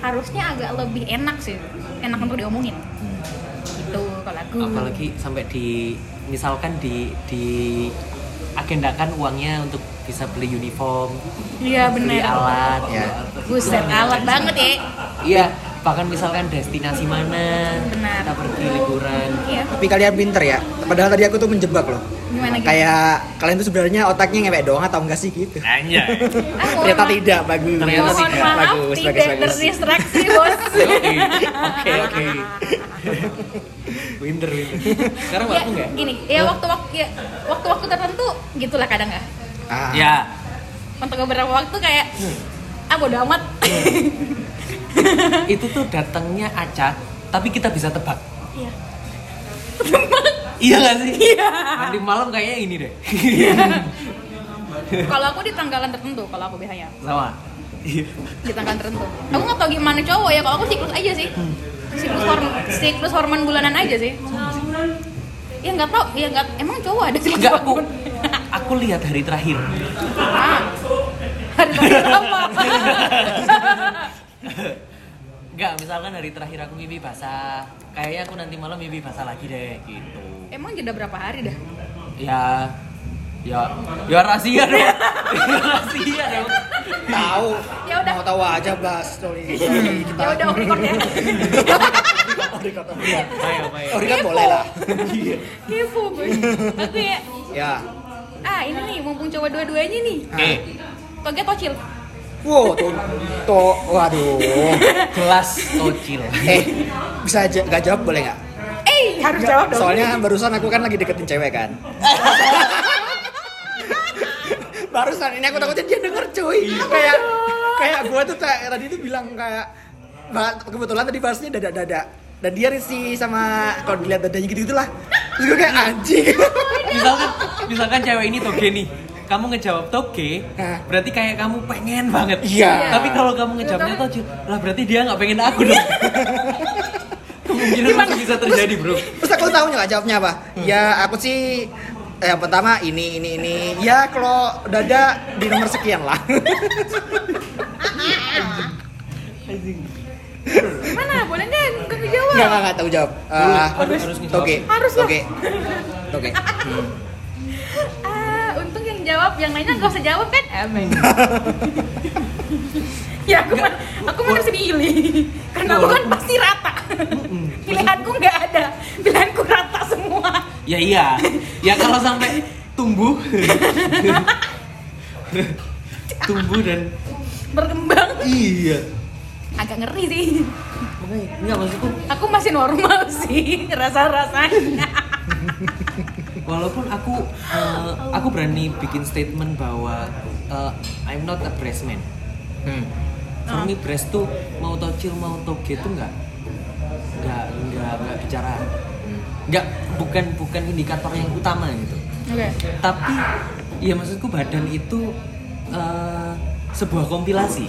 [SPEAKER 3] harusnya agak lebih enak sih enak untuk diomongin itu kalau aku
[SPEAKER 2] Apalagi sampai di misalkan di di agendakan uangnya untuk bisa beli uniform,
[SPEAKER 3] iya
[SPEAKER 2] beli
[SPEAKER 3] benar
[SPEAKER 2] alat,
[SPEAKER 1] Ya.
[SPEAKER 3] buset alat banget ya
[SPEAKER 2] Iya, bahkan misalkan destinasi mana
[SPEAKER 3] Benar.
[SPEAKER 2] kita pergi liburan.
[SPEAKER 3] iya
[SPEAKER 1] Tapi kalian pinter ya. Padahal tadi aku tuh menjebak loh.
[SPEAKER 3] Gimana, gitu? gimana?
[SPEAKER 1] Kayak kalian tuh sebenarnya otaknya ngewek doang atau enggak sih gitu.
[SPEAKER 2] Anjay.
[SPEAKER 3] aku
[SPEAKER 1] Ternyata tidak bagus.
[SPEAKER 2] Ternyata
[SPEAKER 3] mohon
[SPEAKER 2] tidak.
[SPEAKER 3] maaf
[SPEAKER 1] Bagus,
[SPEAKER 3] tidak
[SPEAKER 1] bagus, bagus.
[SPEAKER 3] terdistraksi bos
[SPEAKER 2] Oke, oke, oke. Winter, winter. Sekarang
[SPEAKER 3] ya,
[SPEAKER 2] aku nggak?
[SPEAKER 3] gini ya waktu waktu ya, waktu waktu tertentu gitulah kadang ya
[SPEAKER 1] Ah.
[SPEAKER 2] Ya,
[SPEAKER 3] untuk beberapa waktu kayak
[SPEAKER 2] Hmm.
[SPEAKER 3] ah bodo amat
[SPEAKER 2] itu tuh datangnya acak, tapi kita bisa tebak.
[SPEAKER 3] iya
[SPEAKER 2] Iya nggak sih? Iya. Nanti malam kayaknya ini deh.
[SPEAKER 3] kalau aku di tanggalan tertentu kalau aku biasanya
[SPEAKER 2] Sama. Iya.
[SPEAKER 3] di tanggalan tertentu aku nggak tahu gimana cowok ya kalau aku siklus aja sih
[SPEAKER 2] Hmm.
[SPEAKER 3] siklus hormon siklus hormon bulanan aja sih ya nggak tau ya nggak emang cowok ada siklus
[SPEAKER 2] Enggak aku
[SPEAKER 3] hormon
[SPEAKER 2] aku lihat hari terakhir.
[SPEAKER 3] ah hari terakhir apa
[SPEAKER 2] Enggak, misalkan hari terakhir aku mimpi basah. Kayaknya aku nanti malam mimpi basah lagi deh gitu.
[SPEAKER 3] emang jeda berapa hari dah
[SPEAKER 2] Ya ya ya rahasia dong. ya rahasia dong.
[SPEAKER 1] Tahu.
[SPEAKER 3] Ya udah.
[SPEAKER 1] Mau tahu aja bahas story.
[SPEAKER 3] ya udah off record ya
[SPEAKER 2] Ayo, ayo.
[SPEAKER 1] Oh, ini kan boleh lah.
[SPEAKER 3] kepo gue aku ya
[SPEAKER 1] Ya.
[SPEAKER 3] Gitu, ah ini nih mumpung coba dua-duanya nih
[SPEAKER 2] Oke,
[SPEAKER 3] toge tocil
[SPEAKER 1] Wow, tuh, tuh, waduh.
[SPEAKER 2] gelas tocil.
[SPEAKER 1] Eh, bisa aja nggak jawab boleh nggak?
[SPEAKER 3] eh harus jawab dong
[SPEAKER 1] Soalnya barusan aku kan lagi deketin cewek kan. barusan ini aku takutnya dia denger cuy.
[SPEAKER 2] Iya.
[SPEAKER 1] Kayak kayak gua tuh ta- tadi tuh bilang kayak bah- kebetulan tadi bahasnya dada-dada. Dan dia risi sama kalau dilihat dadanya gitu-gitu lah. Terus gue kayak anjing.
[SPEAKER 2] misalkan misalkan cewek ini toge nih kamu ngejawab toge
[SPEAKER 1] Hah?
[SPEAKER 2] berarti kayak kamu pengen banget
[SPEAKER 1] Iya.
[SPEAKER 2] tapi kalau kamu ngejawabnya toge lah berarti dia nggak pengen aku dong kemungkinan masih bisa terjadi bro
[SPEAKER 1] Terus aku tahu nggak jawabnya apa?
[SPEAKER 2] Hmm.
[SPEAKER 1] Ya aku sih eh, yang pertama ini ini ini. Ya kalau dada di nomor sekian lah.
[SPEAKER 3] mana boleh kan gue dijawab
[SPEAKER 1] Nggak nggak nggak tahu jawab. Eh,
[SPEAKER 2] Harus, harus ngejawab.
[SPEAKER 1] Oke.
[SPEAKER 3] Harus lah.
[SPEAKER 1] Oke. Oke.
[SPEAKER 3] ah untung yang jawab yang lainnya gak usah jawab kan amin ya aku mah aku mah harus diilih karena aku kan pasti rata pilihanku nggak ada pilihanku rata semua
[SPEAKER 2] ya iya ya kalau sampai tumbuh tumbuh dan
[SPEAKER 3] berkembang
[SPEAKER 2] iya
[SPEAKER 3] agak ngeri sih
[SPEAKER 2] makanya nggak maksudku
[SPEAKER 3] aku masih normal sih rasa rasanya
[SPEAKER 2] walaupun aku eh, aku berani bikin statement bahwa eh, I'm not a breast man
[SPEAKER 1] Hmm.
[SPEAKER 2] For
[SPEAKER 3] Nah.
[SPEAKER 2] me, breast tuh mau tocil mau toge tuh nggak nggak nggak nggak bicara nggak bukan bukan indikator yang utama gitu
[SPEAKER 3] oke
[SPEAKER 2] tapi ya maksudku badan itu eh, sebuah kompilasi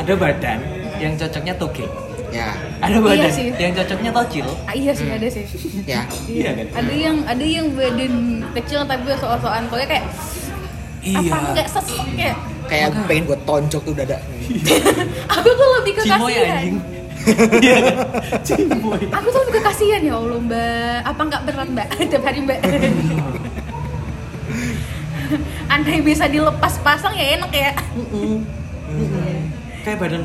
[SPEAKER 2] ada badan yang cocoknya toge
[SPEAKER 1] Ya.
[SPEAKER 2] ada badan
[SPEAKER 3] Iya sih.
[SPEAKER 2] yang cocoknya tocil
[SPEAKER 3] ah, iya sih ada sih
[SPEAKER 1] Ya.
[SPEAKER 2] Iya kan?
[SPEAKER 3] ada yang ada yang badan kecil tapi soal-soal pokoknya kayak
[SPEAKER 2] iya
[SPEAKER 3] apa nggak sesek ya
[SPEAKER 1] Kayak pengen gue tonjok tuh dada.
[SPEAKER 3] aku tuh lebih ke
[SPEAKER 2] Cimoy
[SPEAKER 3] kasihan
[SPEAKER 2] anjing Iya kan? Cimboy.
[SPEAKER 3] Aku tuh juga kasihan ya Allah mbak. Apa nggak berat mbak? Tiap hari mbak. Andai bisa dilepas pasang ya enak ya.
[SPEAKER 2] Mm-mm. Mm-mm. Mm-hmm. Kayak badan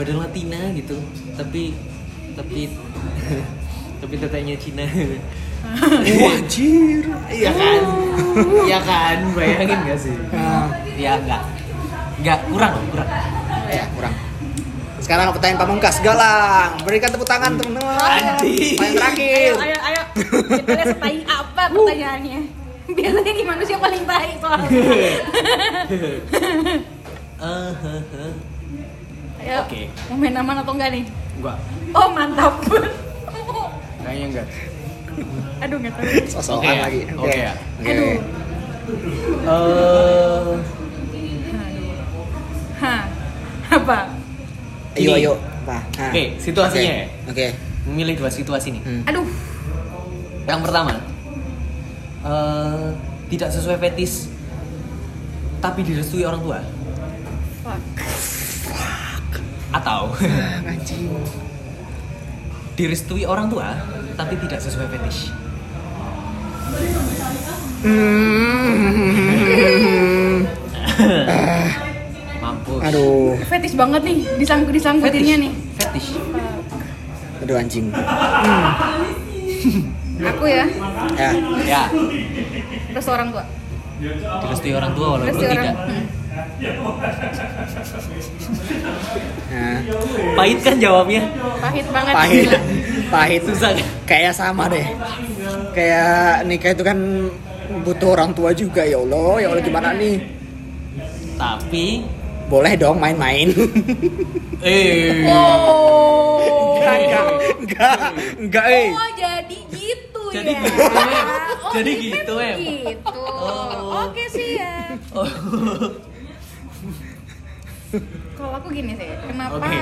[SPEAKER 2] badan Latina gitu, tapi tapi tapi tetenya Cina.
[SPEAKER 1] Wajir.
[SPEAKER 2] Iya kan? Iya kan? Bayangin gak sih?
[SPEAKER 1] Nah,
[SPEAKER 2] Iya,
[SPEAKER 5] ya enggak enggak kurang kurang
[SPEAKER 1] ya kurang. Sekarang pertanyaan pamungkas Galang. Berikan tepuk tangan teman-teman.
[SPEAKER 2] Anjing.
[SPEAKER 1] Paling
[SPEAKER 2] Iya.
[SPEAKER 1] terakhir.
[SPEAKER 3] Hmm. Ayo ayo ayo. Kita lihat setai apa pertanyaannya. Biasanya di manusia paling baik soalnya.
[SPEAKER 2] Eh, heh, heh.
[SPEAKER 3] Ayo.
[SPEAKER 2] Oke.
[SPEAKER 3] Mau main aman atau enggak nih?
[SPEAKER 2] Enggak,
[SPEAKER 3] Oh mantap.
[SPEAKER 2] kayaknya enggak.
[SPEAKER 3] Aduh nggak tahu.
[SPEAKER 1] Sosokan
[SPEAKER 2] Oke ya,
[SPEAKER 1] lagi.
[SPEAKER 2] oke ya.
[SPEAKER 1] Oke.
[SPEAKER 3] Aduh.
[SPEAKER 2] Eh,
[SPEAKER 3] Hah. Apa?
[SPEAKER 1] Ayo
[SPEAKER 2] Ini.
[SPEAKER 1] ayo. Pak. Nah.
[SPEAKER 2] Oke, situasinya ya?
[SPEAKER 1] Oke.
[SPEAKER 2] memilih dua situasi nih.
[SPEAKER 1] Hmm.
[SPEAKER 3] Aduh.
[SPEAKER 2] Yang pertama, eh, tidak sesuai fetis, tapi direstui orang tua.
[SPEAKER 3] Fuck.
[SPEAKER 2] Atau
[SPEAKER 1] Ah, anjing.
[SPEAKER 2] direstui orang tua, tapi tidak sesuai fetish. Mampus.
[SPEAKER 1] Aduh.
[SPEAKER 3] Fetish banget nih disangkut disangkutinnya nih.
[SPEAKER 2] Fetish.
[SPEAKER 1] Aduh anjing.
[SPEAKER 3] Aku ya.
[SPEAKER 1] Ya.
[SPEAKER 2] Ya,
[SPEAKER 3] Terus orang tua.
[SPEAKER 2] direstui orang tua
[SPEAKER 3] Terus
[SPEAKER 2] walaupun
[SPEAKER 3] orang.
[SPEAKER 2] tidak.
[SPEAKER 3] Hmm.
[SPEAKER 1] Nah.
[SPEAKER 2] Pahit kan jawabnya?
[SPEAKER 3] Pahit banget.
[SPEAKER 1] Pahit.
[SPEAKER 3] gila.
[SPEAKER 1] Pahit.
[SPEAKER 2] Susah kan?
[SPEAKER 1] Kayak sama deh. Kayak nikah itu kan butuh orang tua juga ya Allah. Ya Allah gimana nih?
[SPEAKER 2] Tapi,
[SPEAKER 1] Boleh dong main-main.
[SPEAKER 2] eh,
[SPEAKER 3] Oh.
[SPEAKER 1] Enggak, enggak, enggak, enggak, eh.
[SPEAKER 3] Oh jadi gitu
[SPEAKER 2] Jadi
[SPEAKER 3] ya.
[SPEAKER 2] gitu, Em.
[SPEAKER 3] Oh,
[SPEAKER 2] Jadi
[SPEAKER 3] ini
[SPEAKER 2] gitu,
[SPEAKER 3] kan
[SPEAKER 2] Em.
[SPEAKER 3] Gitu.
[SPEAKER 2] Oh.
[SPEAKER 3] Oke sih ya. Kalau aku gini sih, kenapa?
[SPEAKER 2] Oke.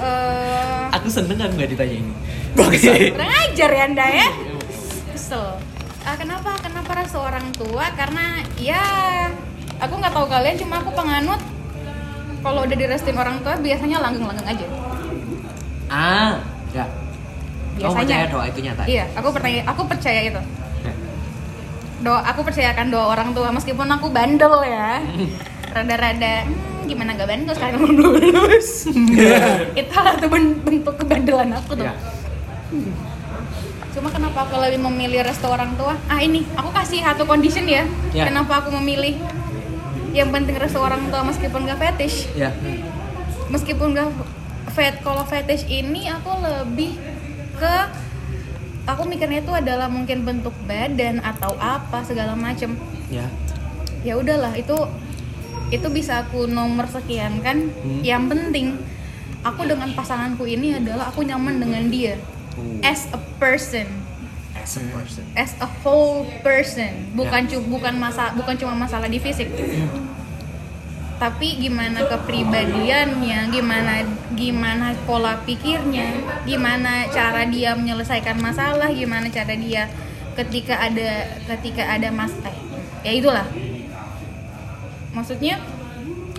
[SPEAKER 3] eh,
[SPEAKER 2] aku seneng kan nggak ditanya ini.
[SPEAKER 3] kurang ajar ya anda ya. Kesel. Ah, kenapa? Kenapa rasa orang tua? Karena ya aku nggak tahu kalian, cuma aku penganut kalau udah direstuin orang tua biasanya langgeng-langgeng aja.
[SPEAKER 2] Ah, ya. Kamu
[SPEAKER 3] Biasanya.
[SPEAKER 2] percaya doa itu nyata?
[SPEAKER 3] Iya, aku percaya, aku percaya itu.
[SPEAKER 2] Ya.
[SPEAKER 3] Doa, aku percayakan doa orang tua meskipun aku bandel ya. Rada-rada hmm, gimana gak bandel sekarang belum lulus. itu salah satu ben- bentuk kebandelan aku tuh.
[SPEAKER 2] Ya.
[SPEAKER 3] Cuma kenapa aku lebih memilih restu orang tua? Ah ini, aku kasih satu condition ya.
[SPEAKER 2] Ya.
[SPEAKER 3] Kenapa aku memilih yang penting restu orang tua meskipun gak fetish.
[SPEAKER 2] Ya.
[SPEAKER 3] Meskipun gak fet, kalau fetish ini aku lebih ke aku mikirnya itu adalah mungkin bentuk badan atau apa segala macem.
[SPEAKER 2] Ya.
[SPEAKER 3] Ya udahlah itu itu bisa aku nomor sekian kan.
[SPEAKER 2] Hmm.
[SPEAKER 3] Yang penting aku dengan pasanganku ini adalah aku nyaman dengan dia
[SPEAKER 2] Hmm.
[SPEAKER 3] as a person
[SPEAKER 2] As a person.
[SPEAKER 3] as a whole person bukan cu- bukan masa bukan cuma masalah di fisik tapi gimana kepribadiannya gimana gimana pola pikirnya gimana cara dia menyelesaikan masalah gimana cara dia ketika ada ketika ada mas eh, ya itulah maksudnya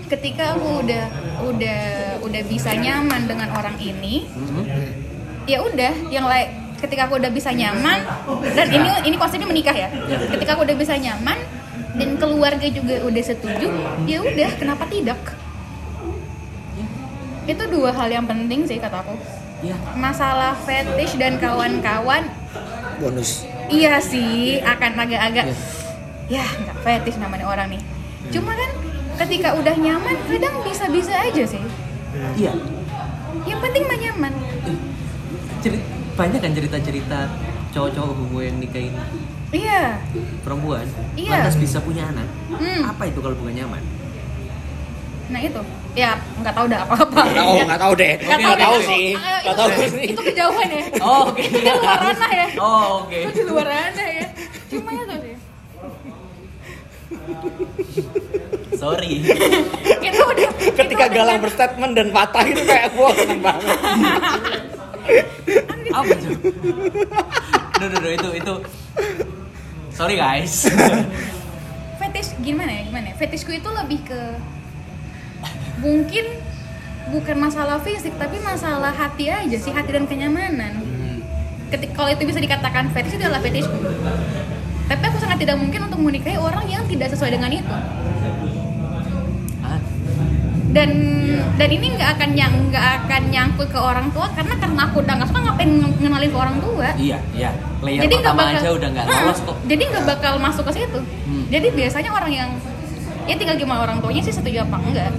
[SPEAKER 3] ketika aku udah udah udah bisa nyaman dengan orang ini ya
[SPEAKER 2] Iya.
[SPEAKER 3] udah yang lain ketika aku udah bisa nyaman dan ini ini konsepnya menikah ya ketika aku udah bisa nyaman dan keluarga juga udah setuju ya udah kenapa tidak itu dua hal yang penting sih kataku
[SPEAKER 2] Ya.
[SPEAKER 3] masalah fetish dan kawan-kawan
[SPEAKER 1] Bonus.
[SPEAKER 3] iya sih akan agak-agak ya
[SPEAKER 2] Iya.
[SPEAKER 3] nggak fetish namanya orang nih cuma kan ketika udah nyaman kadang bisa-bisa aja sih
[SPEAKER 2] Iya.
[SPEAKER 3] yang penting mah nyaman
[SPEAKER 2] Ceri- banyak kan cerita-cerita cowok-cowok homo yang nikahin
[SPEAKER 3] iya
[SPEAKER 2] perempuan
[SPEAKER 3] Iya.
[SPEAKER 2] lantas bisa punya anak.
[SPEAKER 3] Hmm.
[SPEAKER 2] Apa itu kalau bukan nyaman?
[SPEAKER 3] Nah itu, ya nggak tahu dah apa-apa.
[SPEAKER 1] Enggak tahu, enggak tahu deh.
[SPEAKER 3] Nggak
[SPEAKER 1] Enggak tahu
[SPEAKER 3] deh.
[SPEAKER 1] sih.
[SPEAKER 3] Ayo,
[SPEAKER 1] Enggak
[SPEAKER 3] itu-
[SPEAKER 1] tahu sih.
[SPEAKER 3] Itu kejauhan ya.
[SPEAKER 2] Oh, oke.
[SPEAKER 3] Itu di luar ranah ya.
[SPEAKER 2] Oh, oke.
[SPEAKER 3] Itu di luar ranah ya. Cuma itu sih.
[SPEAKER 2] Sorry.
[SPEAKER 3] Itu udah. itu
[SPEAKER 1] Ketika
[SPEAKER 3] udah
[SPEAKER 1] Galang
[SPEAKER 3] kan-
[SPEAKER 1] berstatement dan patah itu kayak gua seneng banget.
[SPEAKER 2] Apa itu? Duh, duh, duh, itu itu. Sorry guys.
[SPEAKER 3] fetish gimana ya gimana? ya? Fetishku itu lebih ke mungkin bukan masalah fisik tapi masalah hati aja sih hati dan kenyamanan ketika kalau itu bisa dikatakan fetish itu adalah fetishku tapi aku sangat tidak mungkin untuk menikahi orang yang tidak sesuai dengan itu
[SPEAKER 2] Ah,
[SPEAKER 3] dan dan ini nggak akan yang nggak akan nyangkut ke orang tua karena karena aku udah nggak suka ngapain nge- ngenalin ke orang tua
[SPEAKER 2] iya, iya.
[SPEAKER 3] jadi
[SPEAKER 2] Layer
[SPEAKER 3] nggak
[SPEAKER 2] pertama
[SPEAKER 3] bakal-
[SPEAKER 2] aja udah nggak
[SPEAKER 3] Heeh,
[SPEAKER 2] lolos kok.
[SPEAKER 3] jadi nggak bakal masuk ke situ
[SPEAKER 2] Hmm.
[SPEAKER 3] jadi biasanya orang yang ya tinggal gimana orang tuanya sih setuju apa enggak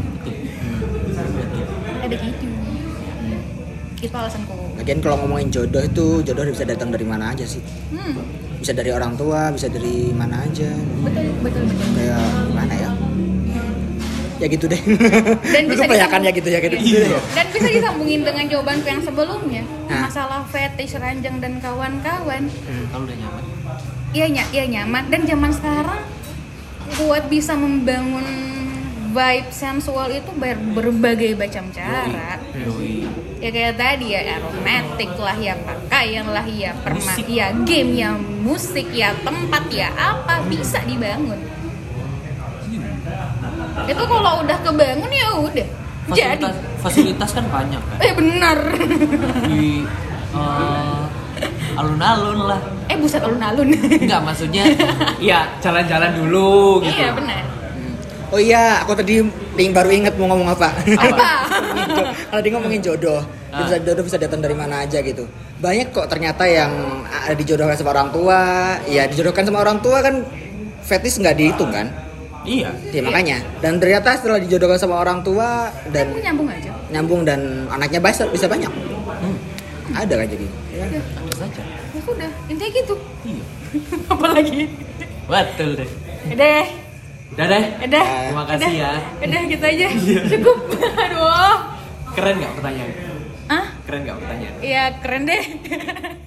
[SPEAKER 3] ada gitu Hmm. itu alasanku
[SPEAKER 1] Lagian kalau ngomongin jodoh itu jodoh bisa datang dari mana aja sih?
[SPEAKER 3] hmm,
[SPEAKER 1] Bisa dari orang tua, bisa dari mana aja.
[SPEAKER 3] betul betul betul
[SPEAKER 1] Kayak gimana ya? Ya gitu deh.
[SPEAKER 3] dan
[SPEAKER 1] Itu
[SPEAKER 3] bisa
[SPEAKER 1] kebanyakan
[SPEAKER 3] disambung-
[SPEAKER 1] ya gitu ya kayak gitu
[SPEAKER 3] Iya.
[SPEAKER 1] deh.
[SPEAKER 3] dan bisa disambungin dengan jawabanku yang sebelumnya
[SPEAKER 1] Hah?
[SPEAKER 3] masalah fetish ranjang dan kawan-kawan
[SPEAKER 4] Kalau udah nyaman.
[SPEAKER 3] iya ny- iya nyaman dan zaman sekarang buat bisa membangun vibe sensual itu ber- berbagai macam cara
[SPEAKER 4] Yoi.
[SPEAKER 3] ya kayak tadi ya aromatik lah ya pakaian lah ya perma ya game ya musik ya tempat ya apa bisa dibangun itu kalau udah kebangun ya udah jadi
[SPEAKER 4] Iya. Fasilitas, fasilitas kan banyak kan.
[SPEAKER 3] eh benar
[SPEAKER 4] Di eh, alun-alun lah.
[SPEAKER 3] eh buset alun-alun
[SPEAKER 4] Enggak gitu. maksudnya ya jalan-jalan dulu gitu.
[SPEAKER 3] iya benar
[SPEAKER 1] Oh iya, aku tadi ting baru inget mau ngomong apa.
[SPEAKER 3] apa
[SPEAKER 1] Gitu. Kalau dia ngomongin jodoh, dia bisa jodoh bisa datang dari mana aja gitu. Banyak kok ternyata yang ada dijodohkan sama orang tua, ya dijodohkan sama orang tua kan fetis nggak dihitung kan?
[SPEAKER 4] Iya.
[SPEAKER 1] Ya makanya. Dan ternyata setelah dijodohkan sama orang tua dan
[SPEAKER 3] aku nyambung aja
[SPEAKER 1] nyambung dan anaknya bisa bisa banyak. Ada kan jadi.
[SPEAKER 4] Ada saja.
[SPEAKER 3] ya udah intinya gitu
[SPEAKER 4] Iya.
[SPEAKER 3] apalagi
[SPEAKER 4] Betul deh.
[SPEAKER 3] udah
[SPEAKER 4] Udah deh.
[SPEAKER 3] udah
[SPEAKER 4] Terima kasih ya. Iya.
[SPEAKER 3] udah gitu aja cukup aduh
[SPEAKER 4] Keren nggak pertanyaan?
[SPEAKER 3] ah
[SPEAKER 4] Keren nggak pertanyaan?
[SPEAKER 3] ya keren Iya, deh